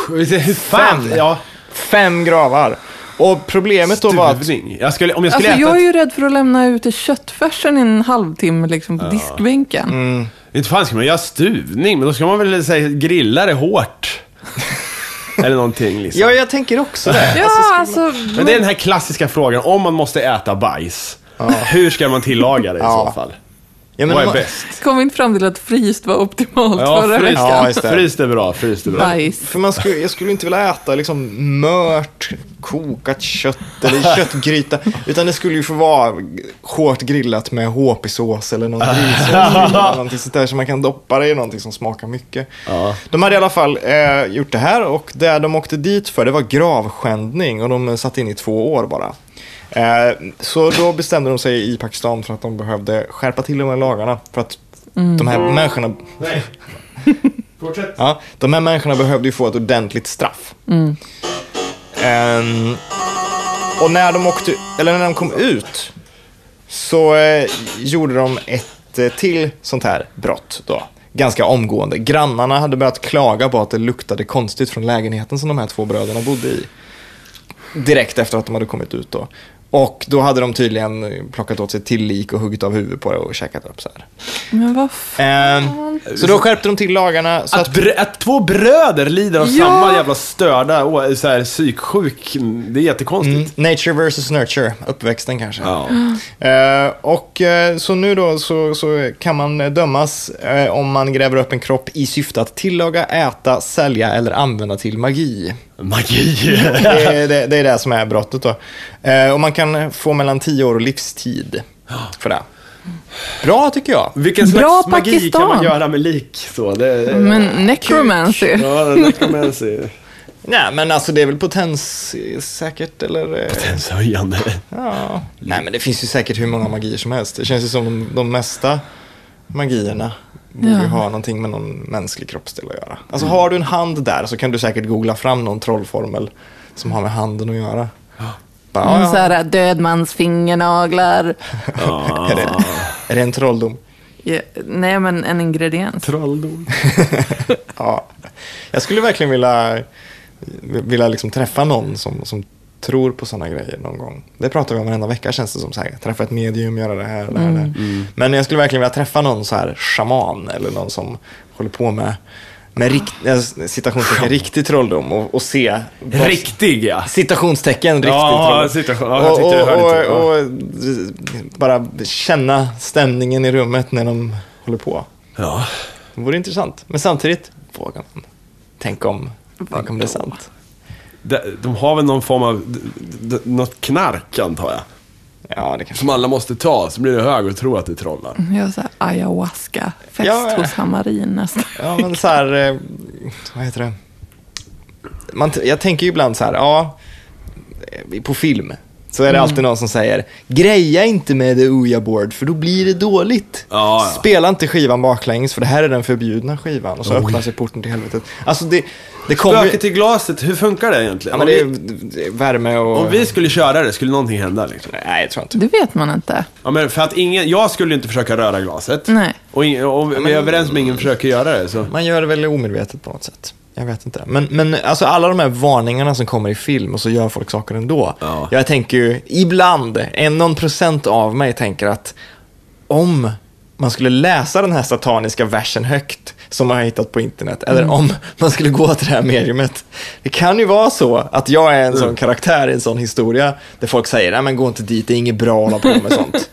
A: Hur fan? Ja.
B: Fem gravar. Och problemet då var att...
A: Stuvning. Jag skulle, om jag skulle
C: Alltså,
A: äta...
C: jag är ju rädd för att lämna ute köttfärsen i en halvtimme liksom, på diskbänken.
A: Inte fan ska man göra stuvning, men då ska man väl eh, säga grilla det
B: (laughs)
A: hårt. Eller någonting liksom.
B: Ja, jag tänker
A: (laughs)
B: också det.
C: Ja, alltså,
A: Men det är den här klassiska frågan, om man måste äta bajs, hur ska man tillaga det i
B: Ja.
A: så fall?
B: Ja, men
A: Vad är
B: man-
A: bäst?
C: kom vi inte fram till att fryst var optimalt förra
A: Ja, fryst,
C: veckan.
B: Ja, just det.
A: fryst är bra. Fryst är bra.
C: Bajs.
B: För man skulle, jag skulle inte vilja äta liksom mört, kokat kött eller köttgryta. Utan det skulle ju få vara hårt grillat med HP-sås eller någon grinsås. eller någonting sånt där så man kan doppa det i någonting som smakar mycket.
A: Ja.
B: De hade i alla fall eh, gjort det här och det de åkte dit för det var gravskändning och de satt in i två år bara. Eh, så då bestämde de sig i Pakistan för att de behövde skärpa till de här lagarna för att de här människorna
A: Nej. Fortsätt.
B: Ja, de här människorna behövde ju få ett ordentligt straff. Ehm, och när de, åkte, eller när de kom ut så eh, gjorde de ett eh, till sånt här brott då. Ganska omgående. Grannarna hade börjat klaga på att det luktade konstigt från lägenheten som de här två bröderna bodde i. Direkt efter att de hade kommit ut då. Och då hade de tydligen eh, plockat åt sig ett till lik och huggit av huvudet på det och käkat upp så här.
C: Men vad fan.
B: Ehm, så då skärpte de till lagarna. Så
A: Att, br- att två bröder lider av
C: Ja.
A: samma jävla störda, å- så här, psyksjuk, det är jättekonstigt.
B: Mm, Nature versus nurture, uppväxten kanske.
A: Ja.
B: Eh, och eh, så nu då så, så kan man eh, dömas eh, om man gräver upp en kropp i syfte att tillaga, äta, sälja eller använda till magi.
A: Magi! (laughs)
B: Det, är- det, det är det som är brottet då. Eh, och man kan få mellan 10 år och livstid för det. Bra tycker jag.
A: Vilken slags
C: Bra
A: magi kan man
C: Pakistan.
A: göra med lik? Så, det,
C: Men necromancy.
A: Ja, necromancy.
B: Nej men alltså det är väl potens eh, säkert eller? eh,
A: Potenshöjande.
B: Ja. Nej men det finns ju säkert hur många magier som helst. Det känns ju som de, de mesta magierna borde ju
C: Ja. Mm.
B: ha någonting med någon mänsklig kroppsdel att göra. Alltså har du en hand där så kan du säkert googla fram någon trollformel som har med handen att göra. Bara,
C: Ja. Mm, Så
B: ja,
C: här, äh, dödmans fingernaglar.
B: ja. (laughs) är, det, är det en trolldom?
C: (laughs) Ja, nej, men en
A: Typ.
C: ingrediens.
A: Trolldom.
B: Ja. Jag skulle verkligen vilja, vilja liksom träffa någon som, som tror på sådana grejer någon gång. Det pratar vi om varenda vecka känns det som. Så här. Träffa ett medium, göra det här och det här. och det här.
A: Mm.
B: Men jag skulle verkligen vilja träffa någon så här shaman eller någon som håller på med, med rikt, äh, citationstecken, riktig trolldom och, och se. vad-
A: Riktig ja.
B: Citationstecken, riktig
A: Ja,
B: trolldom.
A: citation. Ja, jag
B: och,
A: tyckte jag
B: och,
A: hörde typ,
B: och, och bara känna stämningen i rummet när de håller på.
A: Ja.
B: Det vore intressant. Men samtidigt, vågar man? Tänk om, tänk om det är sant?
A: De, de har väl någon form av, d, d, något knark antar jag.
B: Ja, det kanske
A: Som alla måste ta, så blir det hög och tror att det trollar.
C: Jag så här, ayahuasca-fest
B: Ja, ja.
C: hos Hamarin nästa
B: Ja, men så här, eh, vad heter det? Man, t- jag tänker ju ibland så här, ja, eh, på film så
A: Mm.
B: är det alltid någon som säger, greja inte med the Ouija board för då blir det dåligt.
A: Ja, ja.
B: Spela inte skivan baklänges för det här är den förbjudna skivan och så öppnar sig porten till helvetet. Alltså det, det kommer ju...
A: Spöket i glaset, hur funkar det egentligen?
B: Ja, men
A: om,
B: det är
A: vi,
B: det är värme och...
A: om vi skulle köra det, skulle någonting hända liksom?
B: Nej, jag tror inte.
C: (laughs) Det vet man inte.
A: Ja, men för att ingen, jag skulle ju inte försöka röra glaset.
C: Nej.
A: Och, ing, och vi är överens om ingen försöker göra det, så.
B: Man gör det väl omedvetet på något sätt. Jag vet inte. Men, men alltså alla de här varningarna som kommer i film och så gör folk saker ändå.
A: Ja.
B: Jag tänker ju, ibland, en någon procent av mig tänker att om man skulle läsa den här sataniska versen högt som man har hittat på internet, eller
C: Mm.
B: om man skulle gå till det här mediumet. Det kan ju vara så att jag är en
C: Mm. (laughs)
B: sån karaktär i en sån historia där folk säger, nej men gå inte dit, det är inget bra att hålla på med sånt.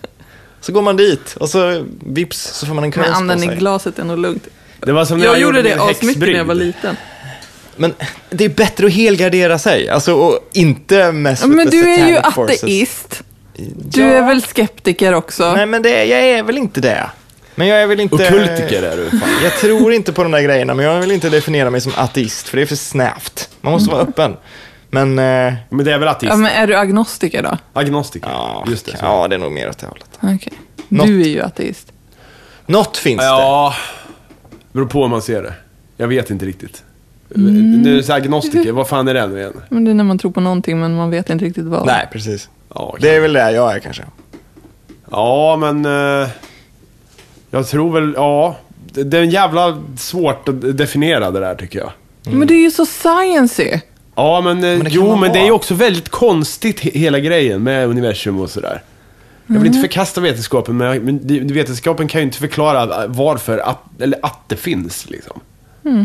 B: Så går man dit och så vips så får man en
C: Men
B: krans på
C: anden i
B: sig.
C: glaset är nog lugnt.
A: Det var som när
C: Jag gjorde det
A: min
C: asmycket när jag
A: häxbrygd.
C: var liten.
B: Men det är bättre att helgardera sig, alltså och inte mess
C: Ja,
B: with
C: Men
B: the
C: du är ju
B: satanic forces.
C: ateist. Du är väl skeptiker också?
B: Nej, men det, jag är väl inte det. Men jag är väl inte...
A: Ockultiker är du. Fan.
B: Jag tror inte på de där grejerna, men jag vill inte definiera mig som ateist, för det är för snävt. Man måste vara öppen. Men, eh,
A: Men det är väl ateist?
C: Ja, men är du agnostiker då?
A: Agnostiker.
B: ja,
A: Just det. så.
B: ja, det är nog mer åt det hållet.
C: Okej.
B: Något-
C: Du är ju ateist.
B: Något finns det.
A: Ja, beror på hur man ser det. Jag vet inte riktigt.
C: Mm.
A: Nu är det så här agnostiker, vad fan är det nu igen?
C: Men det är när man tror på någonting men man vet inte riktigt vad.
B: Nej, precis.
A: Ja,
B: Det är väl det jag är kanske.
A: ja men... eh, jag tror väl, ja. Det det är en jävla svårt att definiera det där tycker jag.
C: Men det är ju så sciency.
A: Ja, men, eh,
B: det kan
A: jo,
B: man
A: men det är ju
B: vara.
A: också väldigt konstigt he- hela grejen med universum och sådär. Jag vill inte
B: Mm.
A: förkasta vetenskapen, men jag- men det- vetenskapen kan ju inte förklara varför, att, eller att det finns liksom.
B: Mm.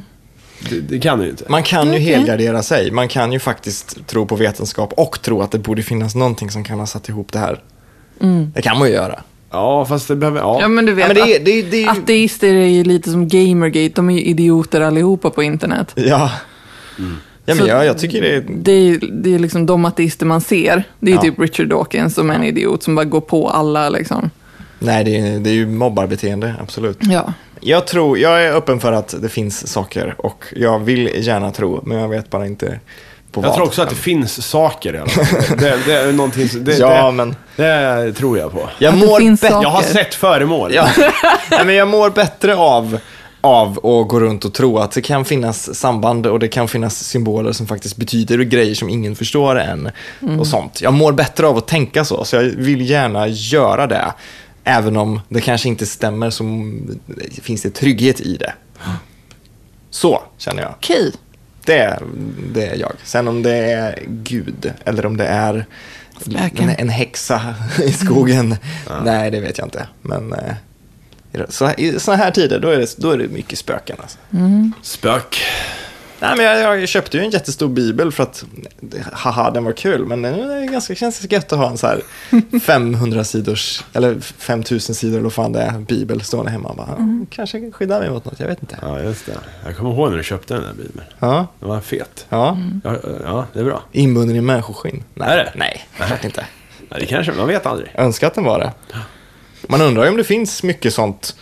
A: Det, det kan det ju inte.
B: Man kan ju
C: Okej.
B: helgardera sig. Man kan ju faktiskt tro på vetenskap och tro att det borde finnas någonting som kan ha satt ihop det här.
C: Mm.
B: Det kan man ju göra.
A: Ja, fast det behöver, ja.
C: Ja men du vet,
B: Ja, men det är- det är- det är-
C: att- ateister är ju lite som gamergate. De är ju idioter allihopa på internet.
B: Ja.
A: Mm.
B: Ja, men
C: Så-
B: jag, jag tycker det är...
C: Det är, det är liksom de ateister man ser. Det är
B: Ja.
C: typ Richard Dawkins som är en idiot som bara går på alla liksom.
B: Nej, det är, det är ju mobbarbeteende, absolut.
C: Ja.
B: Jag tror, jag är öppen för att det finns saker och jag vill gärna tro, men jag vet bara inte på vad.
A: Jag tror också att det finns saker i alla fall. Det, det är någonting som, det,
B: Ja,
A: det,
B: men-
A: det tror jag på.
B: jag
C: att det
B: mår
C: finns
B: bättre.
C: saker.
A: Jag har sett föremål.
B: Ja. (laughs) Nej, men jag mår bättre av, av att gå runt och tro att det kan finnas samband och det kan finnas symboler som faktiskt betyder grejer som ingen förstår än. Och sånt. Jag mår bättre av att tänka så, så jag vill gärna göra det. Även om det kanske inte stämmer så finns det trygghet i det. Så känner jag.
C: Okej.
B: Det är, det är jag. Sen om det är Gud eller om det är
C: Spöken.
B: en, en häxa
A: (laughs)
B: i skogen. Nej, det vet jag inte. Men eh, i så, i såna här tider, då är det, då är det mycket spöken. Alltså.
A: Mm. Spök.
B: Nej, men jag, jag köpte ju en jättestor bibel för att, haha, den var kul. Men nu är det ganska, känns det gött att ha en
A: (laughs)
B: så här 500 sidors, eller 5000 sidor, eller vad fan det är, bibel stående hemma. Bara, "Mm, Kanske skyddar mig mot något, jag vet inte.
A: Mm. Ja, just det. Jag kommer ihåg när du köpte den där bibeln.
B: Ja,
A: Den var fet.
B: ja.
A: Ja, ja det är bra.
B: Inbunden i människoskinn. Nej,
A: Mm. Är det?
B: nej, klart inte.
A: Ja, det kanske, man vet aldrig.
B: Jag önskar att den var det. Man undrar ju om det finns mycket sånt,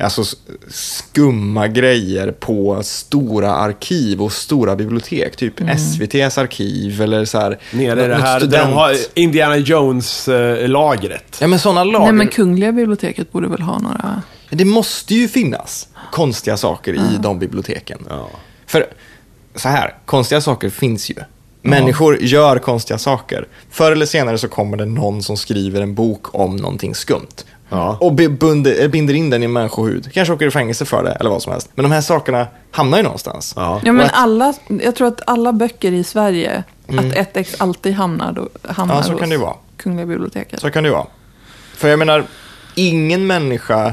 B: alltså s- skumma grejer på stora arkiv och stora bibliotek. Typ SVTs arkiv eller så här.
A: Mm. Nere i
B: något-
A: det
B: något
A: här, där de
B: student-
A: har Indiana Jones-lagret.
B: Ja men sådana lager.
C: Nej men Kungliga biblioteket borde väl ha några...
B: Det måste ju finnas konstiga saker i de biblioteken.
A: Ja.
B: För så här, konstiga saker finns ju. Människor gör konstiga saker. Förr eller senare så kommer det någon som skriver en bok om någonting skumt.
A: Ja.
B: Och be- bunde- eh, binder in den i en människohud. Kanske åker i fängelse för det, eller vad som helst. Men de här sakerna hamnar ju någonstans.
A: Ja.
C: Ja men
B: Och att-
C: alla, jag tror att alla böcker i Sverige, att ett ex alltid hamnar, då, hamnar
B: Mm. Ja, så kan
C: hos
B: det ju vara.
C: Kungliga biblioteket.
B: Så kan det ju vara. För jag menar, ingen människa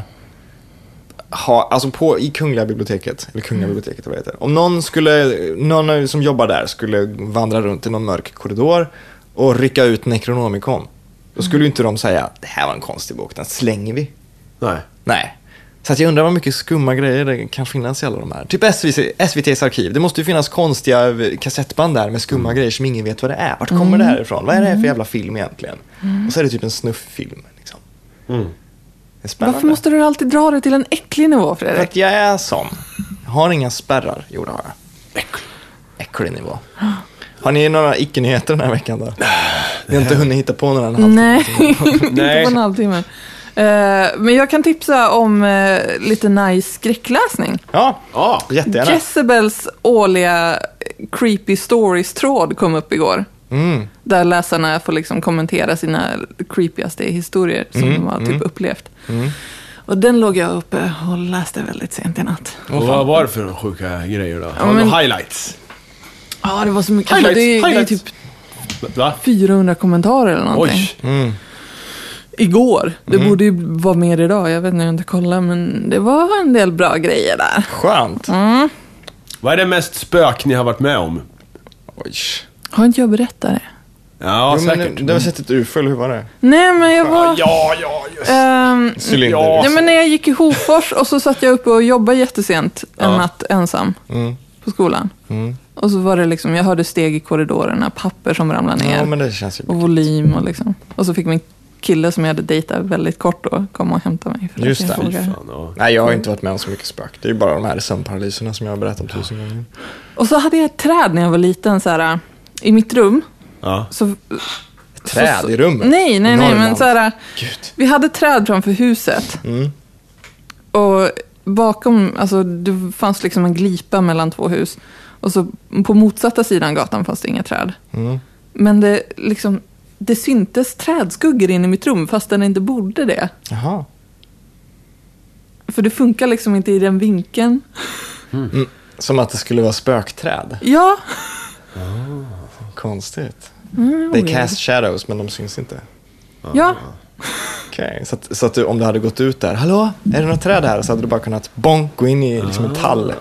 B: har, alltså på, i Kungliga biblioteket, eller Kungliga biblioteket vad det heter, om någon, skulle, någon som jobbar där skulle vandra runt i någon mörk korridor och rycka ut Necronomicon, då skulle ju inte de säga det här var en konstig bok, den slänger vi.
A: Nej.
B: Nej. Så att jag undrar vad mycket skumma grejer det kan finnas i alla de här. Typ SVT, SVTs arkiv. Det måste ju finnas konstiga eh, kassettband där med
C: Mm.
B: skumma grejer som ingen vet vad det är. Vart kommer det här ifrån? Vad är det här för jävla film egentligen?
C: Mm.
B: Och så är det typ en snufffilm. Liksom.
A: Mm.
B: Det är spännande.
C: Varför måste du alltid dra det till en äcklig nivå
B: För
C: Fredrik?
B: att jag är sån. Jag har inga spärrar. Jo, det har jag. Äcklig
C: (gasps)
B: nivå. Har ni några icke-nyheter den här veckan då? Ni har inte hunnit hitta på några en halvtimme?
C: Nej, inte
A: Nej.
C: på en halvtimme. Eh, men jag kan tipsa om eh, lite nice skräckläsning.
B: Ja,
A: Ja.
B: jättegärna.
C: Jezebels årliga creepy stories-tråd kom upp igår.
A: Mm.
C: Där läsarna får liksom kommentera sina creepigaste historier som
A: Mm,
C: de har typ upplevt. Och den låg jag uppe och läste väldigt sent i natt.
A: Och vad var det för de sjuka grejer då?
C: men-
A: Några Highlights?
C: Ja, det var så mycket. Alltså, det, är, det är
A: highlights.
C: typ
A: Va?
C: 400 kommentarer eller någonting.
A: Oj. Mm.
C: Igår. Det borde ju vara mer idag. Jag vet inte, jag har inte kollat. Men det var en del bra grejer där.
B: Skönt.
C: Mm.
A: Vad är det mest spök ni har varit med om?
B: Oj.
C: Har inte jag berättat det?
A: Ja,
B: jo, men
A: säkert.
B: Du har sett ett UFO, eller hur var det?
C: Nej, men jag var...
A: Ja, ja, just
C: ehm,
B: Cylinder.
A: Ja.
C: nej, men när jag gick i Hofors och så satt jag uppe och jobbade jättesent en
A: Ja.
C: natt ensam
B: Mm.
C: på skolan. Och så var det liksom, jag hörde steg i korridorerna, papper som ramlade ner
B: Ja, men det känns ju...
C: och volym och liksom. Och så fick min kille som jag hade dejtat väldigt kort då komma och hämta mig. För
B: Just
C: att jag
B: det.
C: frågade.
A: fan. Ja.
B: Nej, jag har inte varit med om så mycket spök. Det är ju bara de här sömnparalyserna som jag har berättat om tusen gånger.
C: Och så hade jag ett träd när jag var liten, så här, äh, i mitt rum.
A: Ja.
C: Så,
B: Träd
C: så-
B: i rummet?
C: Nej, nej, nej, men
B: Norrland.
C: så här, äh,
B: Gud.
C: vi hade träd framför huset.
B: Mm.
C: Och bakom, alltså det fanns liksom en glipa mellan två hus. Och så på motsatta sidan gatan fanns det inga träd.
B: Mm.
C: Men det liksom, det syntes trädskuggor in i mitt rum fast den inte borde det.
B: Jaha.
C: För det funkar liksom inte i den vinkeln.
B: Som att det skulle vara spökträd.
C: Ja,
B: Konstigt. They cast shadows, men de syns inte.
C: ja.
B: Ah. Okej, så, att, så att du, om du hade gått ut där, hallå, är det något träd här? Så hade du bara kunnat bonk, gå in i liksom en tall.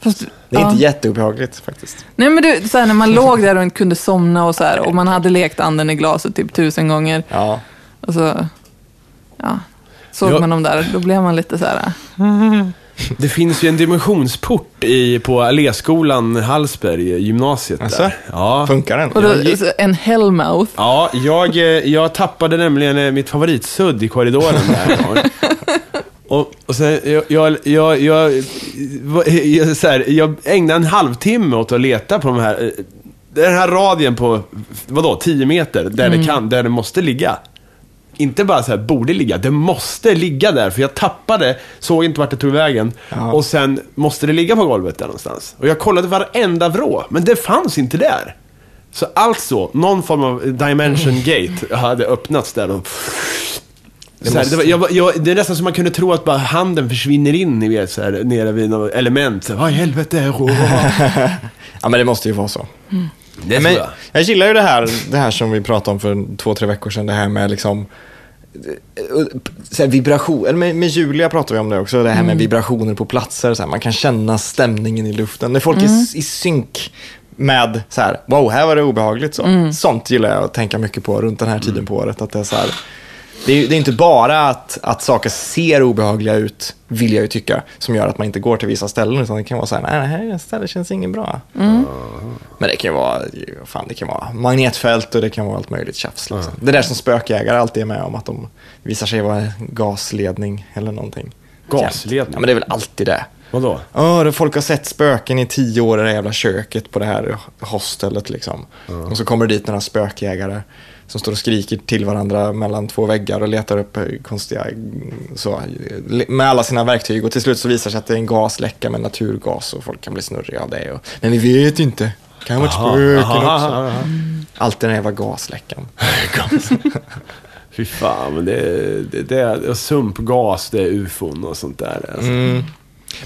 C: Fast,
B: Det är
C: ja.
B: inte jätteobehagligt faktiskt.
C: Nej men du, så här, när man låg där och inte kunde somna och så här, och man hade lekt anden i glaset typ tusen gånger.
B: Ja,
C: Och så, ja, såg
A: Ja.
C: man dem där, då blev man lite så här,
A: Det finns ju en dimensionsport i, på Alléskolan Hallsberg, gymnasiet.
B: Alltså?
A: Där. Ja.
B: funkar den?
C: och då,
B: Jag gick-
C: så en hellmouth.
A: Ja, jag, eh, jag tappade nämligen eh, mitt favoritsudd i korridoren där en gång. Och, och sen, jag, jag, jag, jag, jag, jag, så här, jag ägnade en halvtimme åt att leta på de här, eh, den här radien på, vadå, 10 meter, där det kan, där det måste ligga. Inte bara så här, borde ligga, det måste ligga där, för jag tappade, såg inte vart det tog vägen.
B: Ja.
A: Och sen måste det ligga på golvet där någonstans. Och jag kollade varenda vrå, men det fanns inte där. Så alltså, någon form av dimension
B: (laughs)
A: gate hade öppnats där. Och det, så här, det, var, jag, var- jag, det är nästan som man kunde tro att bara handen försvinner in ni vet, så här, nere vid något element. Så här, Vad i helvete?
B: (laughs)
A: åh."
B: Ja, men det måste ju vara så.
A: Det tror
B: men,
A: jag.
B: jag gillar ju det här, det här som vi pratade om för två, tre veckor sedan. Det här med liksom, eh, så här vibration. Eller med, med Julia pratade vi om det också. Det här med vibrationer på platser. Så här, man kan känna stämningen i luften. När folk är i synk med så här, wow, här var det obehagligt. Så. Sånt gillar jag att tänka mycket på runt den här
A: Mm.
B: tiden på året. Att det är så här, det är, ju- det är inte bara att, att saker ser obehagliga ut, vill jag ju tycka, som gör att man inte går till vissa ställen. Utan det kan vara så här, nej, det här stället känns inget bra. Men det kan ju vara, fan, det kan vara magnetfält och det kan vara allt möjligt tjafs. Liksom. Det där som spökjägare alltid är med om, att de visar sig vara gasledning eller någonting.
A: Gasledning?
B: Ja, men det är väl alltid det.
A: Vadå?
B: Ja, då folk har sett spöken i tio år i det här jävla köket på det här hostelet. Liksom. Och så kommer det dit några spökjägare som står och skriker till varandra mellan två väggar och letar upp eh, konstiga... mm, Så, eh, med alla sina verktyg. Och till slut så visar det sig att det är en gasläcka med naturgas och folk kan bli snurriga av det. Och, men vi vet inte. Det kan ha varit spöken också.
A: aha.
B: Alltid den här
A: (laughs)
B: jävla gasläckan.
A: Fy fan, men det, det, det är sumpgas, det är ufon och sånt där. Alltså.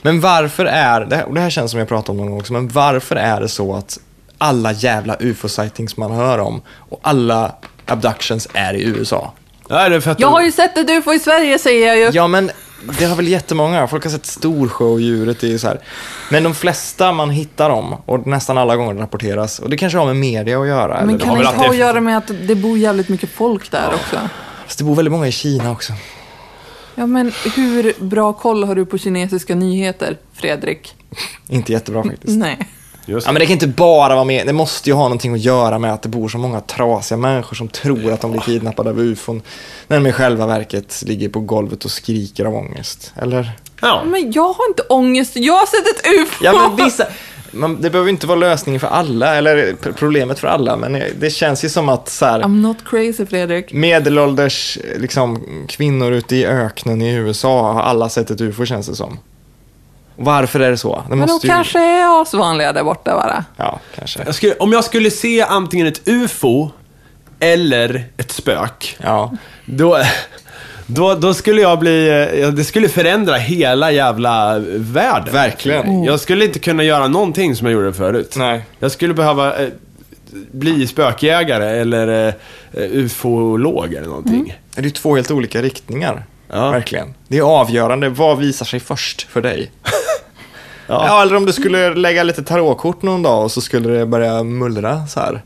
B: Men varför är, det här, och det här känns som jag pratat om någon gång också, men varför är det så att alla jävla ufo-sightings man hör om och alla abductions är i USA?
A: Nej, det är för att
C: Jag
A: de-
C: har ju sett ett UFO i Sverige säger jag ju.
B: Ja, men det har väl jättemånga. Folk har sett storsjöodjuret. Det är ju så här. Men de flesta man hittar om och nästan alla gånger rapporteras. Och det kanske har med media att göra.
C: Men
B: eller
C: kan
A: har
C: det
A: väl
C: inte ha att
A: alltid-
C: göra med att det bor jävligt mycket folk där också?
B: Fast det bor väldigt många i Kina också.
C: Ja, men hur bra koll har du på kinesiska nyheter, Fredrik?
B: Inte jättebra faktiskt.
C: Nej.
A: Just,
B: Ja, men det kan inte bara vara med. Det måste ju ha någonting att göra med att det bor så många trasiga människor som tror att de blir kidnappade av ufon. När de i själva verket ligger på golvet och skriker av ångest. Eller?
A: ja.
C: Men jag har inte ångest, jag har sett ett UFO!
B: Ja,
C: (laughs)
B: men vissa... Man, det behöver inte vara lösningen för alla, eller p- problemet för alla, men det känns ju som att så här,
C: I'm not crazy,
B: Mm,
C: Fredrik.
B: medelålders liksom, kvinnor ute i öknen i USA har alla sett ett ufo känns det som. Varför är det så? Det
C: Men de
B: måste ju-
C: kanske är asvanliga där borta bara.
B: Ja, kanske.
A: Jag skulle, om jag skulle se antingen ett ufo eller ett spök,
B: Ja.
A: Då, då, då skulle jag bli, eh, ja, det skulle förändra hela jävla världen.
B: Verkligen.
A: Mm. Jag skulle inte kunna göra någonting som jag gjorde förut.
B: Nej.
A: Jag skulle behöva eh, bli spökjägare eller eh, ufolog eller någonting.
C: Mm.
B: Det är ju två helt olika riktningar.
A: Ja.
B: Verkligen. Det är avgörande. Vad visar sig först
A: (laughs)
B: för dig?
A: Ja.
B: ja. eller om du skulle lägga lite tarotkort någon dag och så skulle det börja mullra så här.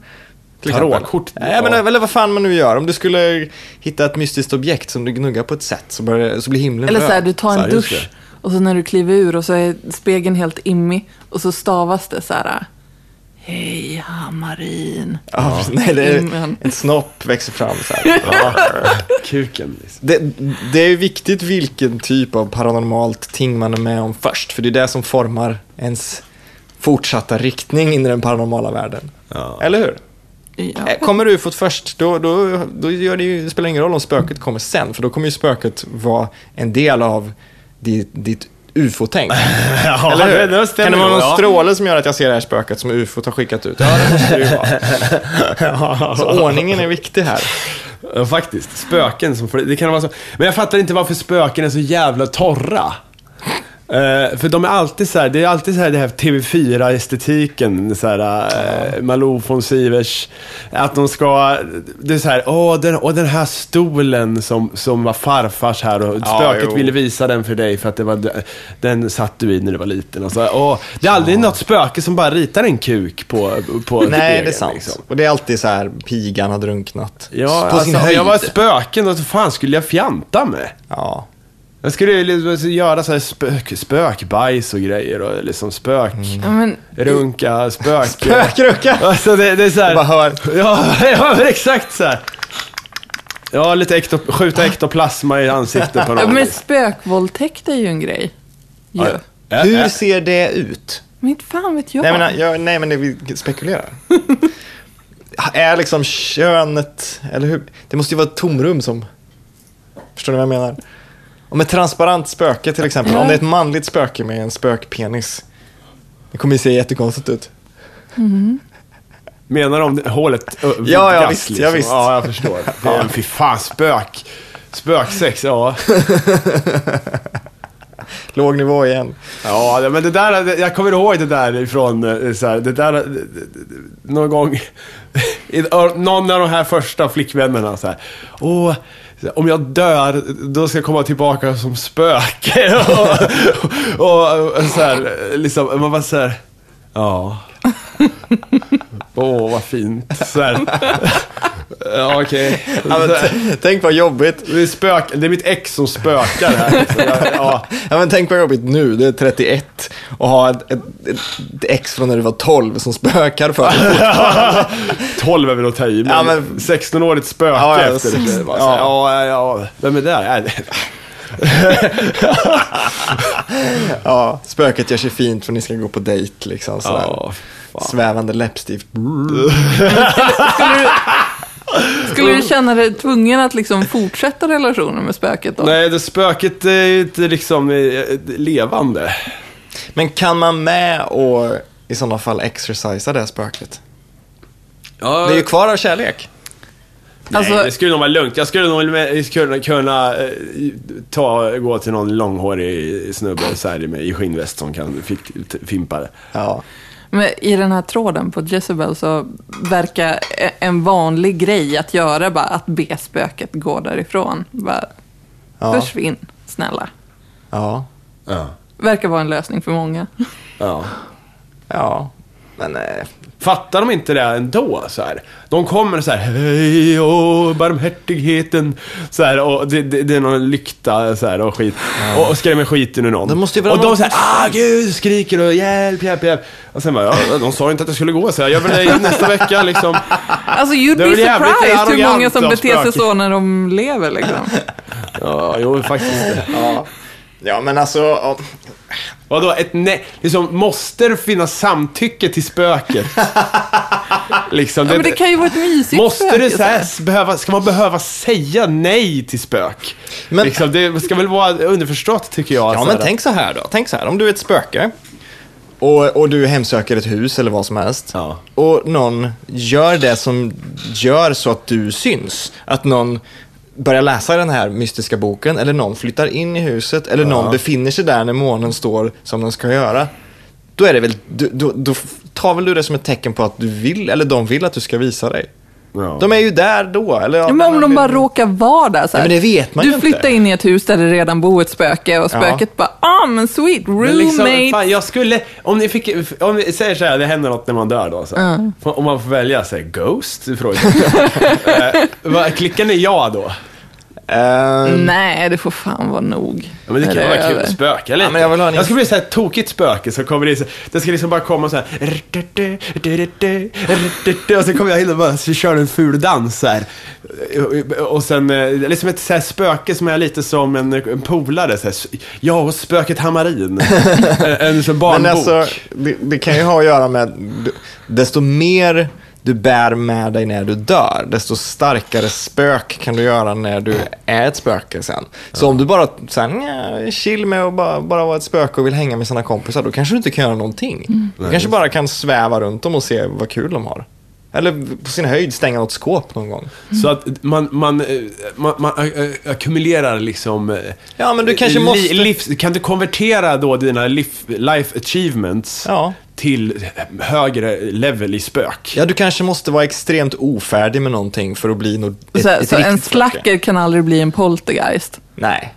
B: till exempel.
A: Tarotkort?
B: Nej, men,
A: Ja.
B: eller vad fan man nu gör. Om du skulle hitta ett mystiskt objekt som du gnuggar på ett sätt så, börjar, så blir himlen
C: Eller
B: röd.
C: så här, du tar
A: Så
C: en
A: här, just
C: dusch och så när du kliver ur och så är spegeln helt immig och så stavas det så här. Hej Hammarin.
B: Ja, (laughs) nej, det är,
C: Amen.
B: en snopp växer fram så
C: (laughs)
B: här.
A: Kuken. liksom.
B: Det, det är ju viktigt vilken typ av paranormalt ting man är med om först, för det är det som formar ens fortsatta riktning in i den paranormala världen.
A: Ja.
B: Eller hur?
C: Ja.
B: Eh, Kommer ufot först, då, då, då gör det ju, det spelar det ingen roll om spöket kommer sen, för då kommer ju spöket vara en del av ditt, ditt ufo-tänk.
A: (laughs) Ja,
B: Eller hur?
A: det- det
B: kan
A: stämmer
B: det vara
A: nog,
B: någon
A: ja.
B: stråle som gör att jag ser det här spöket som ufot har skickat ut? Ja, det måste det ju
A: (laughs)
B: vara. Så ordningen är viktig här.
A: Ja, faktiskt. Spöken som... Det kan vara så. Men jag fattar inte varför spöken är så jävla torra. Eh, för de är alltid så här, det är alltid så här det här TV4-estetiken, så här, eh, Malou von Sivers. Att de ska, det är så här, åh den, åh, den här stolen som, som var farfars här och
B: Ja,
A: spöket
B: jo.
A: ville visa den för dig för att det var, d- den satt du i när du var liten. Och så här, åh, det är aldrig något spöke som bara ritar en kuk på, på
B: Nej,
A: spegeln,
B: det är sant.
A: liksom.
B: Och det är alltid så här, pigan har drunknat.
A: Ja,
B: på sin
A: alltså, om
B: höjd.
A: jag var spöken, då så fan skulle jag fjanta med?
B: ja.
A: Jag skulle ju liksom göra så här spök, spökbajs och grejer och liksom spök...
B: Mm.
C: Ja, men,
A: Runka,
B: (laughs)
A: spök...
B: Spökrucka!
A: Alltså det, det är så här...
B: Jag bara hör.
A: Ja, (laughs) ja, men exakt så här. Ja, lite ekto, skjuta ektoplasma i ansiktet
B: (laughs)
A: på
C: ja,
A: någon.
C: men spökvåldtäkt är ju en grej. Ju.
A: Mm. Ja, ja. Äh,
B: Hur
A: äh.
B: ser det ut?
C: Men inte fan vet jag.
B: Nej, men, jag, nej, men det, vi
A: (laughs)
B: spekulerar. är liksom könet, eller hur? Det måste ju vara ett tomrum som... Förstår ni vad jag menar? Om ett transparent spöke till exempel, om det är ett manligt spöke med en spökpenis. Det kommer ju se jättekonstigt ut.
A: Menar de det- hålet ö,
B: Ja, ja,
A: vidgas, liksom?
B: visst, ja, visst.
A: Ja, jag förstår. Det är, fy fan, spök. Spöksex, ja.
B: Låg nivå igen.
A: Ja, det- men det där, det- jag kommer ihåg det där ifrån, eh, så här, det där, eh, någon gång, (laughs) i- ö- någon av de här första flickvännerna så här, åh, om jag dör, då ska jag komma tillbaka som spöke. (laughs) och, och, och så här, liksom, man bara så här, ja. (laughs) Åh, vad fint. Så här. (laughs) Ja, okej.
B: Ja, men,
A: Så här,
B: t- tänk vad jobbigt.
A: Det, är spök, det är mitt ex som spökar här. Så jag- Ja.
B: Ja, men tänk vad jobbigt nu, det är 31 och ha ett, ett, ett ex från när du var 12 som spökar för dig.
A: (laughs) 12 är väl att ta i, men,
B: Ja, men-
A: 16-årigt spöke
B: Ja, ja,
A: efter det.
B: sex-
A: det. Bara så här, ja, ja, ja. Vem är det? Nej, det-
B: Ja, spöket gör sig fint för ni ska gå på dejt liksom. Sådär.
A: Ja,
B: Svävande läppstift.
C: Skulle du känna dig tvungen att liksom fortsätta relationen med spöket då?
A: Nej, det spöket är ju inte liksom eh, levande.
B: Men kan man med och i sådana fall exercisa det här spöket?
A: Ja,
B: Det är ju kvar av kärlek.
A: Nej,
C: Alltså-
A: det skulle nog vara lugnt. Jag skulle nog med- kunna, kunna eh, ta, gå till någon långhårig snubbe så här, med, i skinnväst som kan fick- t- fimpa det.
B: Ja.
C: Men I den här tråden på Jezebel så verkar e- en vanlig grej att göra bara att be spöket gå därifrån. Bara,
B: Ja.
C: Försvinn, snälla.
B: Ja.
A: Ja.
C: Verkar vara en lösning
A: (laughs)
C: för många.
A: ja.
B: Ja. Men eh,
A: Fattar de inte det ändå? Så här? De kommer så här, hej åh, barmhärtigheten. Så här, och det, det, det är någon lykta så här, och skit. Och, och skrämmer skiten ur någon.
B: Det måste ju vara
A: och de
B: någon-
A: så här, ah gud, skriker och hjälp, hjälp, hjälp. Och sen bara, ja, de sa ju inte att jag skulle gå så här, jag gör väl det nästa vecka liksom.
C: Alltså you'd
A: Det är
C: be
A: väl jävligt
C: surprised hur många
A: arrogant
C: som
A: av
C: beter sig
A: spöket.
C: så när de lever liksom.
A: (laughs) Ja, jo faktiskt.
B: ja. Ja, men alltså. ja.
A: Vadå, ett nej? Liksom, måste det finnas samtycke till
B: (laughs)
A: spöket? liksom,
C: Ja, men det kan ju vara ett mysigt
A: Måste
C: spöke.
A: det så här s- behöva, ska man behöva säga nej till spök?
B: Men-
A: liksom, det ska väl vara underförstått tycker jag.
B: Ja,
A: så
B: men
A: här.
B: tänk så här då. Tänk så här, om du är ett spöke och, och du hemsöker ett hus eller vad som helst
A: Ja.
B: och någon gör det som gör så att du syns. Att någon börjar läsa den här mystiska boken eller någon flyttar in i huset eller någon befinner sig där när månen står som den ska göra. Då är det väl, du, då, då tar väl du det som ett tecken på att du vill, eller de vill att du ska visa dig.
A: Ja.
B: De är ju där då. Eller,
C: Ja, men om de bara råkar vara där så här.
B: Nej, men det vet man
C: Du
B: ju inte.
C: flyttar in i ett hus där det redan bor ett spöke och
B: Ja.
C: spöket bara, ah men sweet, roommate.
A: Men liksom, fan, jag skulle, om ni fick, om vi säger så här, det händer något när man dör då. Så här. Får- Om man får välja, så här, Ghost? (laughs) Frågar jag. eh, vad- klickar ni ja då?
B: Eh,
C: Nej, det får fan vara nog.
A: Ja, men det
C: När
A: kan ju
C: är
A: vara kul
C: över.
A: att spöka lite.
B: Ja, men jag vill ha en-
A: skulle bli så här tokigt spöke så kommer det så, det ska liksom bara komma så här. Och så kommer jag in och bara så kör en ful dans så här. Och sen, eh, liksom ett så här spöke som är lite som en, en polare så här. Ja, och spöket
B: (laughs)
A: Hammarin. En- En sån barnbok.
B: Men alltså, det, det kan ju ha att göra med, desto mer du bär med dig när du dör, desto starkare spök kan du göra när du är ett spöke sen. Så om du bara så här, "Nja, är chill med att bara, bara vara ett spöke och vill hänga med sina kompisar, då kanske du inte kan göra någonting.
C: Mm.
B: Du kanske bara kan sväva runt dem och se vad kul de har. Eller på sin höjd stänga något skåp någon gång.
A: Så att man, man, eh, man, man eh, eh, ackumulerar liksom... eh,
B: Ja, men du kanske
A: li-
B: måste-
A: livs- kan du konvertera då dina lif, life achievements
B: Ja.
A: till högre level i spök?
B: Ja, du kanske måste vara extremt ofärdig med någonting för att bli något, ett,
C: Så, här,
B: ett
C: så en
B: riktigt spöke.
C: slacker kan aldrig bli en poltergeist.
B: Nej.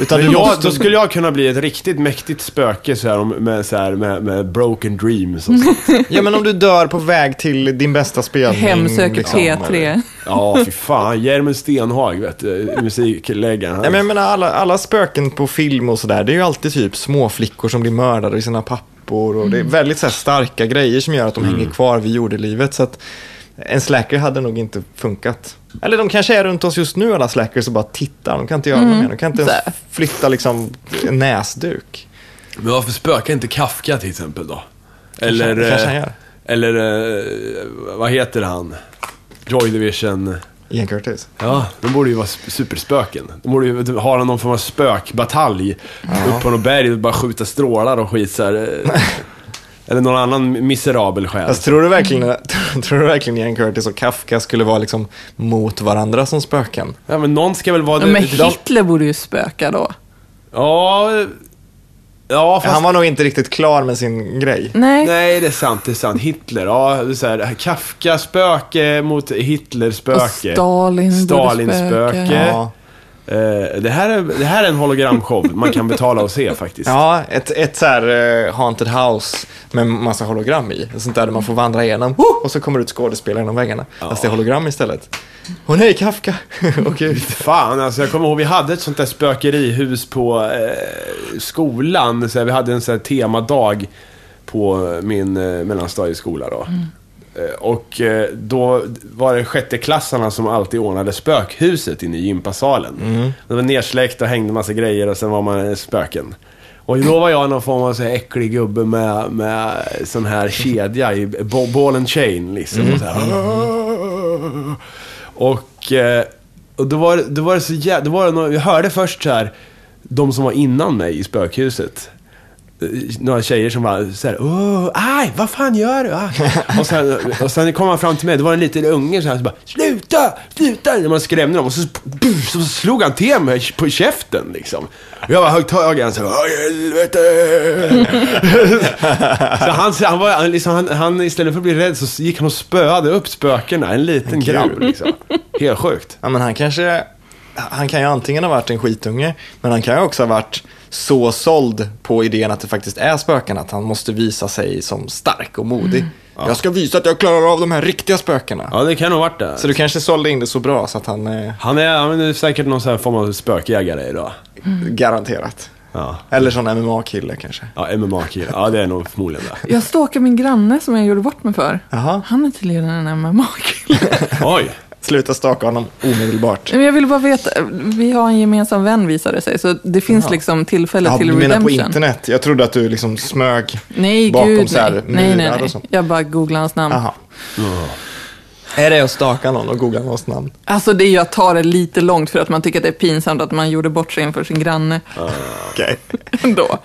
B: Utan
A: Men
B: du
A: jag,
B: måste...
A: då skulle jag kunna bli ett riktigt mäktigt spöke så här, om- med, så här, med, med broken dreams och
B: (laughs)
A: sånt.
B: Ja, men om du dör på väg till din bästa spelning.
C: Hemsöker
B: liksom, eller-
C: P3.
A: Ja, fy fan. Germund Stenhag, vet
B: (laughs)
A: du, musikläggaren.
B: Nej,
A: Han-
B: men jag menar, alla, alla spöken på film och sådär, det är ju alltid typ små flickor som blir mördade av sina pappor. Och Det
C: Mm.
B: är väldigt så här, starka grejer som gör att de hänger kvar vid jordelivet. Så att en slacker hade nog inte funkat. Eller de kanske är runt oss just nu, alla slackers, och bara tittar. De kan inte göra något mer. De kan inte
C: Mm. Så
B: ens
C: här.
B: flytta liksom, en näsduk.
A: Men varför spökar inte Kafka till exempel då? Eller,
B: Kanske- kanske han
A: eh,
B: gör.
A: eller eh, vad heter han? Joy Division.
B: Ian Curtis.
A: Ja, de borde ju vara sp- superspöken. De borde ju typ, ha någon form av spökbatalj upp på något berg och bara skjuta strålar och skit så här. eh, Eller någon annan miserabel själ.
B: Alltså, tror, du verkligen, (laughs) tror du verkligen Ian Curtis och Kafka skulle vara liksom, mot varandra som spöken?
A: Ja, men någon ska väl vara...
C: Ja, men Hitler borde ju spöka då.
A: Ja, eh, ja fast...
B: Han var nog inte riktigt klar med sin grej.
C: Nej.
A: Nej, det är sant, det är sant. Hitler, ja, det är så här, Kafka spöke mot Hitler
C: Och
A: spöke.
C: Stalin borde
A: Stalin spöke.
C: spöka.
B: Ja,
A: Eh, det, här är, det här är en hologramshow man kan betala och se faktiskt.
B: ja ett, ett så här eh, haunted house med massa hologram i. Sånt där, där man får vandra igenom och så kommer det ut skådespelare genom väggarna. Fast det är hologram istället. Åh nej, Kafka! (laughs) Åh gud.
A: Fan, alltså jag kommer ihåg vi hade ett sånt där spökerihus på eh, skolan. Så här, vi hade en sån här temadag på min eh, mellanstadieskola då. Eh, Och eh, då var det sjätteklassarna som alltid ordnade spökhuset inne i gympasalen. Det var nersläckt och hängde massa grejer och sen var man eh, spöken. Och då var jag någon form av så här äcklig gubbe med, med sån här kedja i bo- ball and chain liksom. Och så här, och, eh, och då var, det- då var det så jävla... Var det någon, jag hörde först så här, de som var innan mig i spökhuset. Eh, Några tjejer som var så här, åh, aj, vad fan gör du? Ah. Och, sen, och sen kom han fram till mig, det var en liten unge så här, så bara, sluta, sluta! När man skrämde dem och så, puff, så slog han till mig på käften liksom. Och jag var högt högen så här, "Åh, helvete! (laughs) så han, han var, han liksom, han, han, istället för att bli rädd så gick han och spöade upp spökena, en liten
B: Kul.
A: grabb liksom. Helt sjukt.
B: Ja, men han kanske... Han kan ju antingen ha varit en skitunge, men han kan ju också ha varit så såld på idén att det faktiskt är spöken att han måste visa sig som stark och modig. Jag ska visa att jag klarar av de här riktiga spökena.
A: Ja, det kan nog ha varit det.
B: Så du kanske sålde in det så bra så att han... Eh,
A: Han är, han är säkert någon sån här form av spökjägare idag.
C: Mm.
B: Garanterat.
A: Ja.
B: Eller sån MMA-kille kanske.
A: Ja, MMA-kille. Ja, det är nog förmodligen det.
C: Jag stalkar min granne som jag gjorde bort mig för.
B: Jaha.
C: Han är tydligen en MMA-kille.
A: Oj!
B: Sluta staka honom omedelbart.
C: Men jag vill bara veta, vi har en gemensam vän visade det sig, så det finns liksom tillfälle
B: Ja,
C: till
B: du menar på
C: redemption.
B: internet? Jag trodde att du liksom smög
C: Nej,
B: bakom
C: gud
B: så här
C: nej. nej, nej,
B: murar
C: nej.
B: och sånt.
C: Jag bara googlar hans namn.
B: Jaha. Är det att staka någon och googla någons namn?
C: Alltså det är ju att ta det lite långt för att man tycker att det är pinsamt att man gjorde bort sig inför sin granne. (laughs)
B: Okej.
C: Ändå.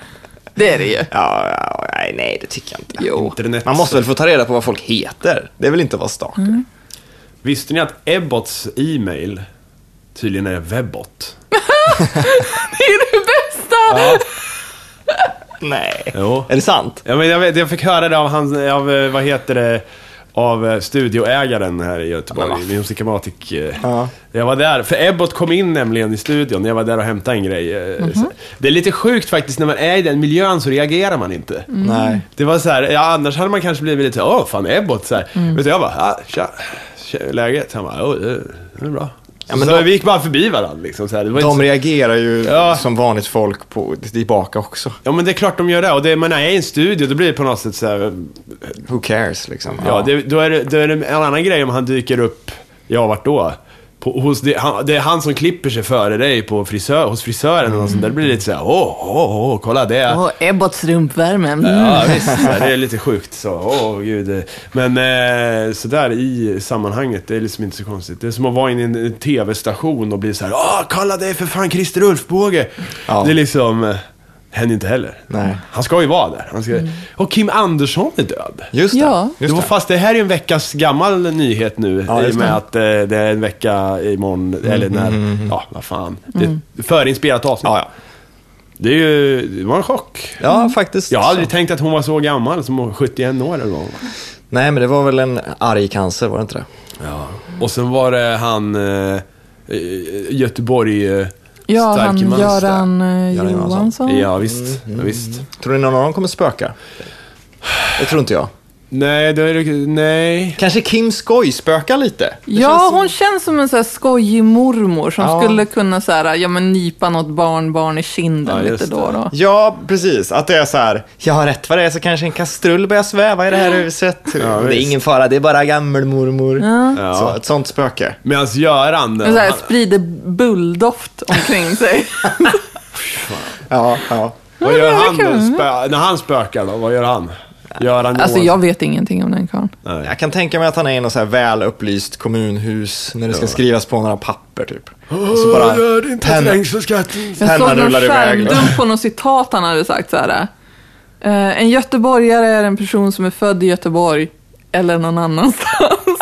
C: Det är
B: (laughs)
C: det ju.
B: Ja, ja, nej, nej, det tycker jag inte.
C: Jo.
A: Internet.
B: Man måste väl få ta reda på vad folk heter? Det är väl inte att vara stalker?
C: Mm.
A: Visste ni att Ebbots e-mail tydligen är Webbot?
C: Det är det bästa!
B: Nej.
A: Jo.
B: Är det sant?
A: Ja, men jag, vet, jag fick höra det av, han, av eh, vad heter det, av eh, studioägaren här i Göteborg,
B: Men
A: i Musicamatic. eh.
B: Ja.
A: Jag var där, för Ebbot kom in nämligen i studion när jag var där och hämtade en grej. eh, så- Det är lite sjukt faktiskt, när man är i den miljön så reagerar man inte.
C: Mm.
B: Nej.
A: Det var så här, ja, annars hade man kanske blivit lite, åh, fan Ebbot så här.
B: Mm.
A: Men så jag bara, ah, tja, tja, läget? Han bara, åh, det är- det är bra.
B: Ja,
A: så
B: men de-
A: vi gick bara förbi varandra liksom. Så här. Det var
B: De
A: inte så...
B: reagerar ju
A: Ja.
B: som vanligt folk på, tillbaka också.
A: Ja, men det är klart de gör det. Och det, men när jag är i en studio, då blir det på något sätt så här,
B: Who cares liksom.
A: Ja, det, då, är det, då är det en annan grej om han dyker upp, ja vart då? På, hos det, han, det är han som klipper sig före dig på frisör, hos frisören eller något sånt
B: Mm.
A: där. Det blir lite såhär, åh, åh, åh, kolla det.
C: Åh, Ebbots rumpvärme. Mm.
A: Ja, visst, så här, det är lite sjukt så, åh gud. Men eh, sådär i sammanhanget, det är liksom inte så konstigt. Det är som att vara inne i en, en tv-station och bli så här, åh, kolla det är för fan Christer Ulfbåge.
B: Ja.
A: Det är liksom, eh, händer inte heller.
B: Nej.
A: Han ska ju vara där. Han ska, Och Kim Andersson är död.
B: Just det.
C: Ja.
B: Just
A: Jo,
B: det.
A: fast det här är en veckas gammal nyhet nu.
B: Ja,
A: I
B: just
A: och med
B: det. Mm,
A: att eh, det är en vecka imorgon, eller när, ja vad fan. Det är ett förinspelat avsnitt.
B: Ja, ja.
A: Det, är ju, det var en chock.
B: ja, faktiskt.
A: Jag har aldrig
B: Så.
A: tänkt att hon var så gammal, som 71 år eller vad
B: Nej, men det var väl en arg cancer, var det inte det?
A: ja. Och sen var det han, eh, eh, Göteborg, eh,
C: Ja, han
A: Starkmans där.
C: Göran eh,
B: Göran Johansson.
C: Johansson.
A: Ja, visst. Ja, visst.
B: Tror ni någon av dem kommer spöka? Det tror inte jag.
A: Nej, det är, nej.
B: Kanske Kim Skoj spökar lite? Det
C: Ja,
B: känns som-
C: hon känns som en så här skojig mormor som
B: Ja.
C: skulle kunna så här, ja, men nypa något barnbarn i
A: Ja,
C: kinden
A: just
C: lite då och
A: det.
C: då.
B: Ja, precis. Att det är så här, jag har rätt vad det är så kanske en kastrull börjar sväva i det här huset. det är
A: visst.
B: ingen fara, det är bara gammelmormor.
A: Ja.
B: Så, ett sånt spöke.
A: Medan alltså, Göran, eh,
C: Men Så här,
A: han,
C: sprider bulldoft
B: (laughs)
C: omkring sig.
B: Ja, ja.
A: vad gör
C: Ja, det
A: han
C: kan
A: då?
C: man.
A: Spö, när han spökar då, vad gör han? Göran
C: Alltså, jag
A: Johansson.
C: vet ingenting om den karln.
A: Nej.
B: Jag kan tänka mig att han är i något så här väl upplyst kommunhus när det ska skrivas på några papper typ. Och
A: alltså,
B: så bara pennan,
A: trängselskatten.
C: Jag såg
B: pennan
C: någon
B: rullar iväg. då.
C: skärmdump på något citat han hade sagt så här. eh, En göteborgare är en person som är född i Göteborg eller någon annanstans.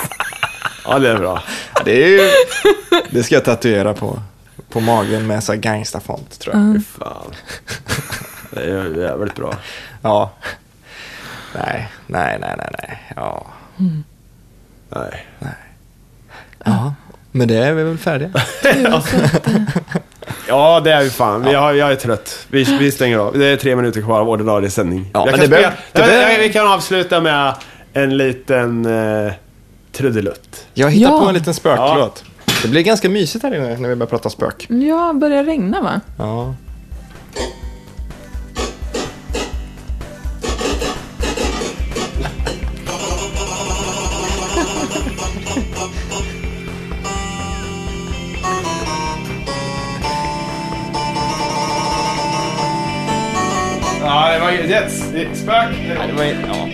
A: Ja, det är bra.
B: Det, är ju, det ska jag tatuera på, på magen med så här gangstafont tror jag.
A: Fy fan. Det är ju jävligt bra.
B: Ja. Nej, nej, nej, nej, nej. Ja.
A: Nej.
B: ja. Men det är vi väl färdiga?
A: Ja, det är vi fan. Men Jag, jag är trött. Vi, vi stänger av. Det är tre minuter kvar av ordinarie sändning.
B: Ja,
A: jag
B: men
A: kan
B: det
A: spela-
B: behöver- det
A: Nej, men
B: behöver-
A: Vi kan avsluta med en liten eh, trudelutt.
B: Jag hittar
C: Ja.
B: på en liten spöklåt. Det blir ganska mysigt här inne när vi börjar prata spök.
C: Ja, börjar regna va?
B: Ja.
A: Ja, det var ju... Spök.
B: Det var, ja.